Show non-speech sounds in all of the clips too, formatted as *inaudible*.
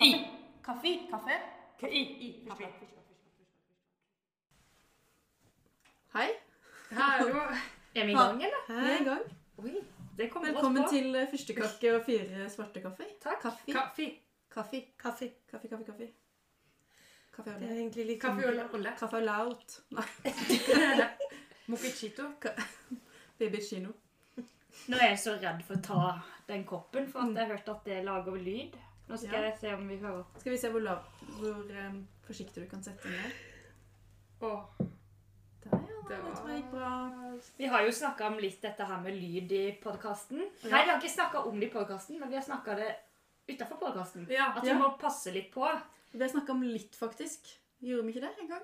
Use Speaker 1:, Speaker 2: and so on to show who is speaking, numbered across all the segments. Speaker 1: I.
Speaker 2: Kaffe. Kaffe.
Speaker 1: I. I. Kaffe.
Speaker 3: Hei.
Speaker 1: Hallo. Er vi i gang, eller?
Speaker 3: Hei, i gang.
Speaker 1: Oi. Det kommer
Speaker 3: Velkommen
Speaker 1: brått på.
Speaker 3: til eh, første kake og fire svarte kaffe.
Speaker 1: Takk.
Speaker 3: Kaffe.
Speaker 1: Kaffe.
Speaker 3: Kaffe.
Speaker 4: Kaffe.
Speaker 3: Kaffe, kaffe, kaffe. Kaffe
Speaker 4: Det
Speaker 3: og
Speaker 4: er egentlig litt
Speaker 3: sånn
Speaker 1: Kaffe
Speaker 5: sånn-
Speaker 1: og rulle.
Speaker 3: Kaffe og laut. *laughs* Nei,
Speaker 1: Mochichito.
Speaker 3: baby chino.
Speaker 5: Nå er jeg så redd for å ta den koppen, for at jeg har hørt at det lager lyd. Nå skal
Speaker 3: Ja.
Speaker 5: jeg se om vi hører.
Speaker 3: Skal vi se hvor, lav, hvor eh, forsiktig du kan sette den ned.
Speaker 1: Åh.
Speaker 3: Der, ja.
Speaker 1: Det
Speaker 3: Det
Speaker 1: var-
Speaker 3: tror jeg gikk bra.
Speaker 5: Vi har jo snakka om litt dette her med lyd i podkasten. Nei, vi har ikke snakka om det i podkasten, men vi har snakka det utafor podkasten.
Speaker 1: Ja.
Speaker 5: At vi
Speaker 3: Ja.
Speaker 5: må passe litt på.
Speaker 3: Vi har snakka om litt, faktisk. Gjorde vi ikke det en gang?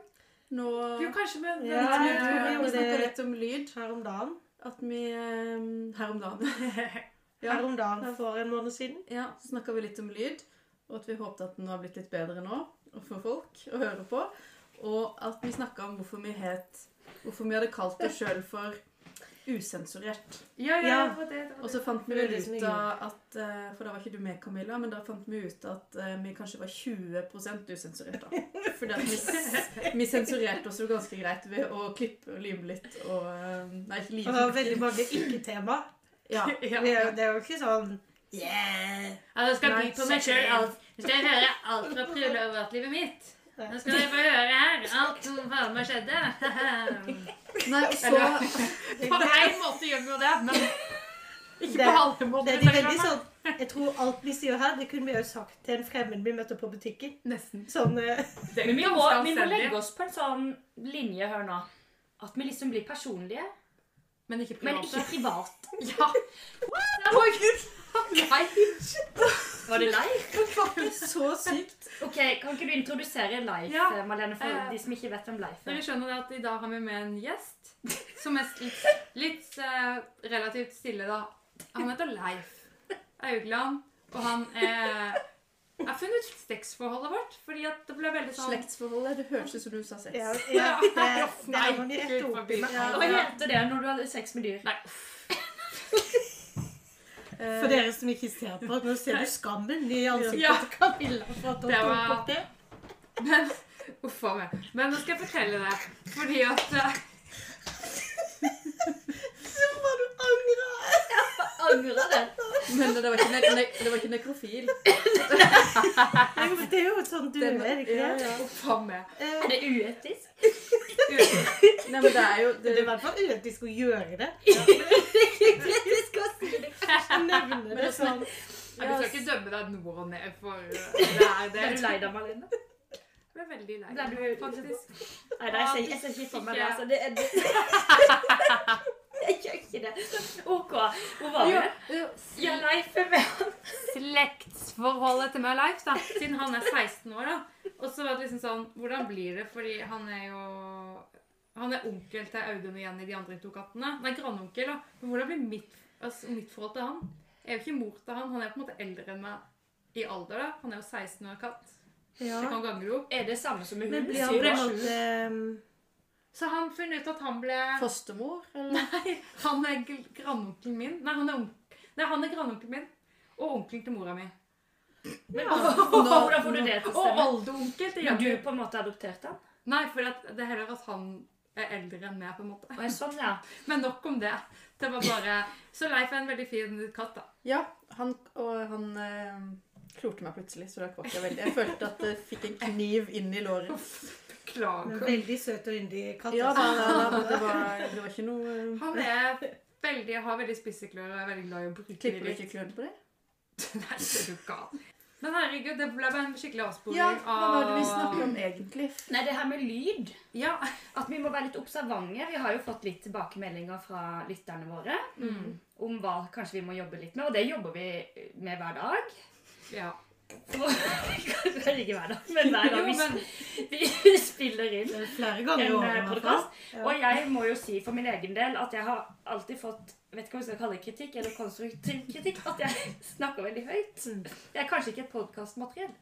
Speaker 3: Nå
Speaker 1: Jo, kanskje vi
Speaker 4: Ja,
Speaker 3: Vi
Speaker 4: jeg tror vi gjorde
Speaker 3: snakka
Speaker 4: det
Speaker 3: litt om lyd.
Speaker 4: her om dagen.
Speaker 3: At vi eh, Her om dagen. Ja.
Speaker 4: Her om dagen for en måned siden.
Speaker 3: Ja, så snakka vi litt om lyd, og at vi håpte at den har blitt litt bedre nå og for folk å høre på. Og at vi snakka om hvorfor vi het Hvorfor vi hadde kalt det sjøl for usensurert.
Speaker 1: Ja, ja,
Speaker 4: Ja.
Speaker 1: det var det. det,
Speaker 3: Og
Speaker 1: var
Speaker 3: så
Speaker 1: det.
Speaker 3: fant vi
Speaker 4: Det
Speaker 3: vel
Speaker 4: var det som
Speaker 3: ut av at eh, For da var ikke du med, Camilla, men da fant vi ut at eh, vi kanskje var 20 usensurert, da. Fordi at vi, s- vi sensurerte oss jo ganske greit ved å klippe og lime litt og eh, Nei, ikke
Speaker 4: Og det var
Speaker 3: lime.
Speaker 4: veldig mange ikke-tema. *laughs*
Speaker 3: Ja.
Speaker 1: Ja.
Speaker 4: Det er jo- det er jo ikke sånn Yeah!
Speaker 5: Altså, jeg skal
Speaker 3: Nei,
Speaker 5: by på meg sjøl alt. Nå skal jeg høre alt fra privatlivet mitt. Nå skal jeg få høre her alt som faen meg skjedde.
Speaker 3: Nei, og så
Speaker 5: På én måte gjør vi jo det, men
Speaker 4: Det,
Speaker 5: ikke
Speaker 4: det
Speaker 5: på alle måter.
Speaker 4: er de veldig sånn Jeg tror alt vi sier her, det kunne vi jo sagt til en fremmed vi møtte på butikken.
Speaker 3: Nesten.
Speaker 4: Sånn eh,
Speaker 1: Det er
Speaker 5: Men vi må,
Speaker 1: ganske
Speaker 5: vi må
Speaker 1: anstendig.
Speaker 5: legge oss på en sånn linje her nå. At vi liksom blir personlige,
Speaker 1: Men ikke
Speaker 5: men
Speaker 1: private.
Speaker 5: ikke private.
Speaker 1: Ja. Å, gud! Nei.
Speaker 5: *laughs* Var det live?
Speaker 3: Så sykt.
Speaker 5: Ok, Kan ikke du introdusere Leif,
Speaker 1: Ja.
Speaker 5: eh, Malene, for
Speaker 1: Eh,
Speaker 5: de som ikke vet hvem Leif
Speaker 1: Dere
Speaker 5: er?
Speaker 1: skjønner det at i dag har vi med en gjest som er litt, litt eh, relativt stille, da. Han heter Leif Augland, og han er Jeg har funnet ut sexforholdet vårt, fordi at det ble veldig sånn
Speaker 3: Slektsforholdet. Det hørtes ut som du sa sex.
Speaker 4: ja, ja, Det det er noen de
Speaker 1: Gud
Speaker 4: rett oppi
Speaker 1: forbi.
Speaker 4: meg.
Speaker 1: Ja.
Speaker 5: Hva heter det når du har sex med dyr?
Speaker 1: Nei,
Speaker 3: Eh,
Speaker 4: For dere som ikke ser på, nå ser du skammen i
Speaker 1: Ja.
Speaker 4: ansiktet til Camilla. for at hun
Speaker 1: Det
Speaker 4: tok
Speaker 1: var-
Speaker 4: opp det.
Speaker 1: men Uff a meg. Men nå skal jeg fortelle det. Fordi at eh,
Speaker 4: Så må du angre!
Speaker 5: Angrer det?
Speaker 3: *laughs* Men det var ikke, ne ne det var ikke nekrofil.
Speaker 4: Jo, men Det er jo sånn du er, er det ikke
Speaker 3: ja,
Speaker 4: det?
Speaker 3: ja.
Speaker 1: Uff a meg.
Speaker 4: Eh,
Speaker 5: Er det *laughs* uetisk?
Speaker 3: Nei, men det er jo det,
Speaker 4: Det er i hvert fall uetisk å gjøre det. Nevne det sånn.
Speaker 1: Jeg skal ikke dømme deg nord og ned for eh, det er det.
Speaker 5: Er du lei deg, Malene?
Speaker 1: Jeg ble veldig lei.
Speaker 5: Ble du-
Speaker 1: faktisk.
Speaker 5: Nei, nei, jeg ser, jeg ser ikke for meg det. altså. det, er- *laughs* det. Jeg gjør ikke det. OK. Hvor var vi? Ja, Leif er med.
Speaker 1: slektsforholdet til meg og Leif, da, siden han er 16 år. da. Og så var det liksom sånn Hvordan blir det? Fordi han er jo Han er onkel til Audun og Jenny, de andre to kattene. Nei, grandonkel. da. Men hvordan blir mitt, altså, mitt forhold til han? Jeg er jo ikke mor til han. Han er på en måte eldre enn meg i alder. da. Han er jo 16 år katt.
Speaker 4: Ja.
Speaker 1: Jeg kan gange det opp.
Speaker 5: Er det samme som med
Speaker 4: Men
Speaker 5: hund?
Speaker 4: blir han på en måte um,
Speaker 1: Så han finner ut at han ble
Speaker 3: Fostermor, eller?
Speaker 1: Han er gl- grandonkelen min. Nei, han er, onk Nei, han er grandonkelen min. Og onkelen til mora mi.
Speaker 5: Men,
Speaker 1: *laughs*
Speaker 5: hvordan får du det til å
Speaker 1: Og
Speaker 5: stemme?
Speaker 1: oldeonkel til
Speaker 5: Har du
Speaker 1: Jenny.
Speaker 5: på en måte adoptert han?
Speaker 1: Nei, for at det er heller at han er eldre enn meg, på en måte.
Speaker 5: Og jeg er sånn, ja.
Speaker 1: Men nok om det. Det var bare Så Leif er en veldig fin katt, da.
Speaker 3: Ja, han, og han eh, klorte meg plutselig, så da kvakk jeg veldig. Jeg følte at det fikk en kniv inn i låret.
Speaker 4: men
Speaker 1: Beklager.
Speaker 4: veldig søt og yndig katt.
Speaker 3: Ja,
Speaker 4: altså.
Speaker 3: da, da, da, det, var, det var ikke noe eh,
Speaker 1: Han er veldig, har veldig spisse klør og er veldig glad i å bruke
Speaker 3: Klipper du ikke klørne på det?
Speaker 1: Nei, så er du gal. Men herregud, det ble bare en skikkelig avsporing
Speaker 3: Ja, hva var det vi
Speaker 1: av-
Speaker 3: snakket om egentlig?
Speaker 5: Nei, det her med lyd
Speaker 1: Ja.
Speaker 5: At vi må være litt observante. Vi har jo fått litt tilbakemeldinger fra lytterne våre
Speaker 4: Mm.
Speaker 5: om hva kanskje vi må jobbe litt med, og det jobber vi med hver dag.
Speaker 1: ja.
Speaker 5: *laughs* Kanskje ikke hver dag, men hver
Speaker 1: Jo,
Speaker 5: gang vi,
Speaker 1: men
Speaker 5: *laughs* vi spiller inn
Speaker 4: Flere ganger i
Speaker 5: en eh,
Speaker 4: året, i hvert fall.
Speaker 5: podkast. Og jeg må jo si for min egen del at jeg har alltid fått vet ikke hva vi skal kalle det, kritikk, eller konstruktiv kritikk, at jeg *laughs* snakker veldig høyt.
Speaker 4: Mm.
Speaker 5: Jeg er kanskje ikke et podkastmateriell.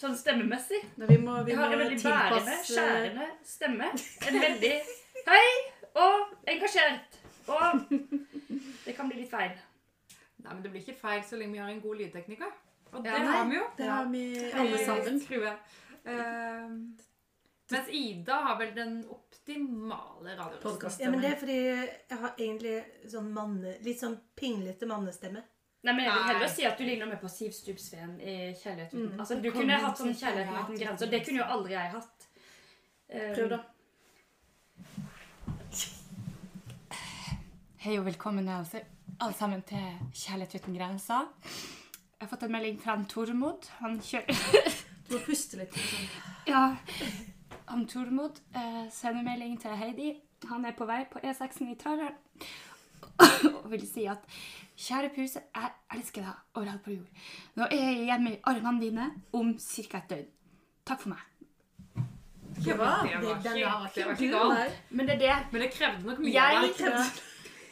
Speaker 5: Sånn stemmemessig.
Speaker 3: Nei, vi må, vi
Speaker 5: Jeg har en
Speaker 3: må
Speaker 5: veldig bærende,
Speaker 3: tilpasse
Speaker 5: skjærende stemme. En veldig høy og engasjert. Og det kan bli litt feil.
Speaker 1: Nei, men det blir ikke feil så lenge vi har en god lydtekniker. Og det
Speaker 5: Ja, nei.
Speaker 1: har vi jo.
Speaker 3: Det har vi alle
Speaker 1: Alle
Speaker 3: sammen.
Speaker 1: Tror jeg. Ehm, mens Ida har vel den optimale radiorøsten.
Speaker 3: Podcast.
Speaker 4: Ja, men det er fordi jeg har egentlig sånn manne, litt sånn pinglete mannestemme.
Speaker 5: Nei, men Jeg vil
Speaker 1: Nei.
Speaker 5: heller si at du ligner mer på Siv Stubbsveen i 'Kjærlighet uten
Speaker 3: Mm.
Speaker 5: Altså, Du
Speaker 1: Det kom
Speaker 5: kunne
Speaker 1: en
Speaker 5: hatt sånn
Speaker 1: sånn
Speaker 5: 'Kjærlighet uten
Speaker 1: kjærlighet
Speaker 5: grenser'. Det kunne jo aldri jeg hatt. Um,
Speaker 3: Prøv, da.
Speaker 6: Hei og velkommen altså, alle sammen til Kjærlighet uten grenser. Jeg har fått en melding fra en Tormod. Han kjører
Speaker 3: Du må puste litt. Sånn.
Speaker 6: Ja. Han Tormod eh, sender melding til Heidi. Han er på vei på E6-en i Tørdal og vil si at Kjære puse, jeg elsker deg overalt på jord. Nå er jeg hjemme i armene dine om ca. et døgn. Takk for meg.
Speaker 3: Det var
Speaker 1: Det var
Speaker 3: den
Speaker 1: ikke-
Speaker 3: var
Speaker 1: det
Speaker 3: ikke
Speaker 1: var ikke
Speaker 3: du,
Speaker 1: galt.
Speaker 3: nei.
Speaker 6: Men det er det.
Speaker 1: Men det krevde nok mye. av
Speaker 6: Jeg,
Speaker 1: deg.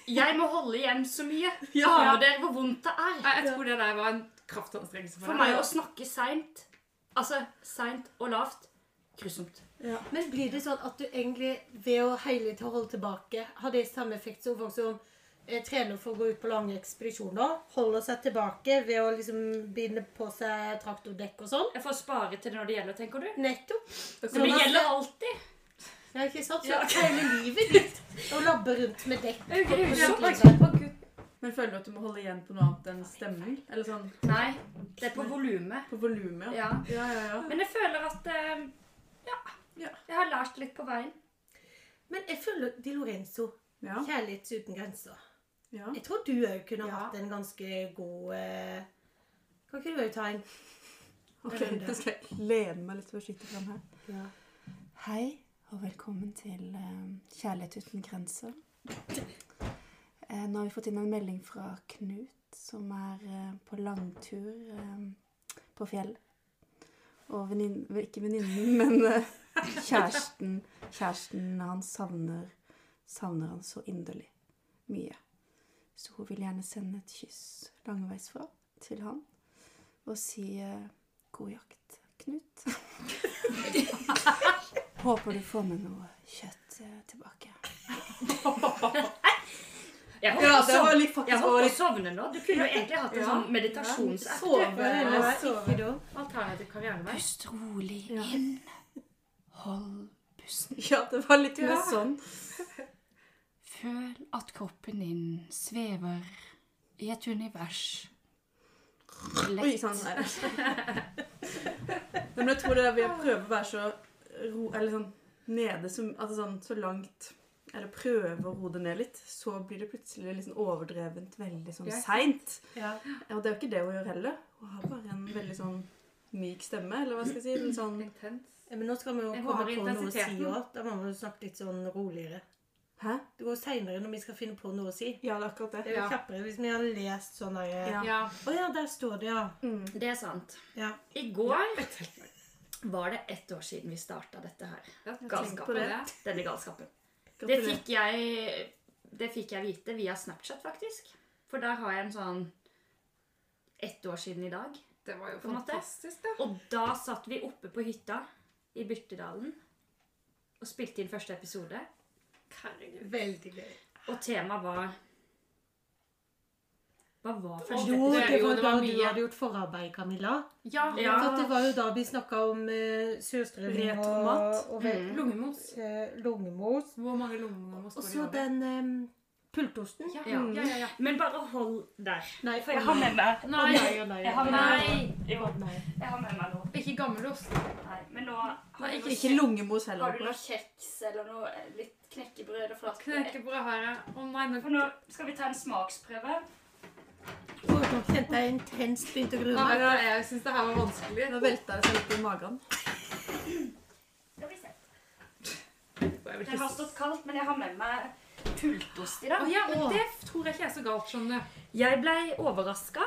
Speaker 6: jeg må holde igjen så mye.
Speaker 3: Ja.
Speaker 6: Aner dere hvor vondt det er?
Speaker 1: Jeg, jeg tror det der var en kraftanstrengelse for,
Speaker 6: For meg å snakke seint, altså seint og lavt, grusomt.
Speaker 4: Men blir det sånn at du egentlig, ved å heile til å holde tilbake, har det samme effekt som folk som eh, trener for å gå ut på lange ekspedisjoner? Holder seg tilbake ved å liksom binde på seg traktordekk og sånn?
Speaker 5: Jeg får spare til det når det gjelder, tenker du?
Speaker 4: Nettopp.
Speaker 5: Så det gjelder alltid.
Speaker 4: Ja, ikke sant? Så hele livet ditt å labbe rundt med dekk.
Speaker 5: Det er jo grusomt.
Speaker 3: Men føler du at du må holde igjen på noe annet enn stemning? Eller sånn
Speaker 5: Nei, det er på volumet.
Speaker 3: på volumet?
Speaker 5: Ja.
Speaker 3: Ja, ja, ja.
Speaker 5: Men jeg føler at eh,
Speaker 3: Ja.
Speaker 5: ja, jeg har lært litt på veien.
Speaker 4: Men jeg føler Di Lorenzo,
Speaker 3: ja.
Speaker 4: 'Kjærlighet uten grenser'.
Speaker 3: ja.
Speaker 4: Jeg tror du òg kunne
Speaker 1: Ja.
Speaker 4: hatt en ganske god eh, Kan ikke du òg ta en?
Speaker 3: Ok, da skal jeg lene meg litt forsiktig fram her.
Speaker 7: Hei, og velkommen til eh, Kjærlighet uten grenser. Eh, nå har vi fått inn en melding fra Knut, som er eh, på langtur eh, på fjellet. Og vennin- vel, ikke venninnen, men eh, kjæresten, kjæresten hans savner, savner han så inderlig mye. Så hun vil gjerne sende et kyss langveisfra til han og si eh, god jakt, Knut. *laughs* Håper du får med noe kjøtt eh, tilbake.
Speaker 5: Jeg håper,
Speaker 3: Ja,
Speaker 5: å
Speaker 3: det
Speaker 5: sovne-
Speaker 3: var litt
Speaker 5: jeg
Speaker 3: faktisk
Speaker 5: håper
Speaker 3: var
Speaker 5: å
Speaker 3: litt
Speaker 5: sovne nå. Du kunne jo egentlig hatt en
Speaker 3: Ja.
Speaker 5: sånn meditasjonsapp.
Speaker 4: Sove eller ikke da?
Speaker 1: alternativ karrierevei.
Speaker 6: Pust rolig inn. Hold pusten.
Speaker 3: Ja, det var litt mer sånn.
Speaker 6: Føl at kroppen din svever i et univers.
Speaker 3: Oi,
Speaker 6: Lett.
Speaker 3: sånn *laughs* er det. Nei, Men jeg tror det er ved å prøve å være så ro... Eller sånn nede som Altså sånn så langt Eller prøve å roe det ned litt, så blir det plutselig liksom overdrevent veldig sånn
Speaker 1: Ja, sant.
Speaker 3: seint.
Speaker 4: Ja.
Speaker 3: Og det er jo ikke det hun gjør heller. Hun har bare en veldig sånn myk stemme, eller hva skal jeg si. En sånn
Speaker 1: Intens.
Speaker 4: Ja, Eh, Men nå skal vi jo
Speaker 1: Jeg
Speaker 4: komme
Speaker 1: har
Speaker 4: på noe å si
Speaker 1: intensiteten.
Speaker 4: òg. Da må vi jo snakke litt sånn roligere.
Speaker 3: Hæ?
Speaker 4: Det går seinere når vi skal finne på noe å si.
Speaker 3: Ja, det er akkurat
Speaker 4: Det
Speaker 3: det.
Speaker 4: er jo
Speaker 1: Ja.
Speaker 4: kjappere hvis vi har lest sånn derre Å ja.
Speaker 3: Ja.
Speaker 1: Ja.
Speaker 4: der står det, ja.
Speaker 5: Det er sant.
Speaker 4: ja.
Speaker 5: I går var det ett år siden vi starta dette her.
Speaker 1: Jeg tenkte
Speaker 5: Galskap.
Speaker 1: på det.
Speaker 5: Denne galskapen. Det
Speaker 3: Gratulerer.
Speaker 5: fikk jeg, det fikk jeg vite via Snapchat, faktisk. For der har jeg en sånn ett år siden i dag.
Speaker 1: Det var jo
Speaker 5: På en måte.
Speaker 1: fantastisk, da.
Speaker 5: Og da satt vi oppe på hytta i Byrtedalen og spilte inn første episode.
Speaker 4: Veldig gøy.
Speaker 5: Og temaet var Hva var første
Speaker 4: Jo,
Speaker 1: det-
Speaker 4: det
Speaker 1: jo,
Speaker 4: var
Speaker 1: det
Speaker 4: da
Speaker 1: var
Speaker 4: du
Speaker 1: mye.
Speaker 4: hadde gjort forarbeid, Camilla.
Speaker 1: Ja.
Speaker 5: Ja.
Speaker 4: For at det var jo da vi snakka om uh, surstrømming og,
Speaker 3: Retromat.
Speaker 4: og ve-
Speaker 1: Lungemos.
Speaker 4: eh, lungemos.
Speaker 1: Hvor mange lungemos
Speaker 4: Mm. Og
Speaker 1: går det
Speaker 4: så
Speaker 1: over?
Speaker 4: den eh, pultosten. Mm.
Speaker 1: Ja, ja, ja, ja.
Speaker 5: Men bare hold der.
Speaker 4: Nei,
Speaker 5: For jeg har med meg
Speaker 1: Nei,
Speaker 5: Jeg har med
Speaker 1: Nei.
Speaker 5: meg Jo, jeg har med meg noe.
Speaker 1: ikke gammelost.
Speaker 5: Nei, men nå har jeg
Speaker 3: Ikke lungemos heller.
Speaker 5: Har du noe kjeks eller noe eh, litt knekkebrød og flatbrød?
Speaker 1: Knekkebrød har jeg. Å nei, men
Speaker 5: For nå skal vi ta en smaksprøve.
Speaker 4: Å, Nå kjente jeg intenst begynte å grue
Speaker 1: Nei,
Speaker 4: meg.
Speaker 1: vet du hva, Jeg syns det her var vanskelig.
Speaker 3: Nå velta det seg litt i magen.
Speaker 5: Skal vi se.
Speaker 1: Jeg
Speaker 5: Den
Speaker 1: vil ikke
Speaker 5: har stått kaldt, men jeg har med meg pultost i
Speaker 1: Å
Speaker 5: dag.
Speaker 1: ja, men det tror jeg ikke er så galt, skjønner du.
Speaker 5: Jeg ble overraska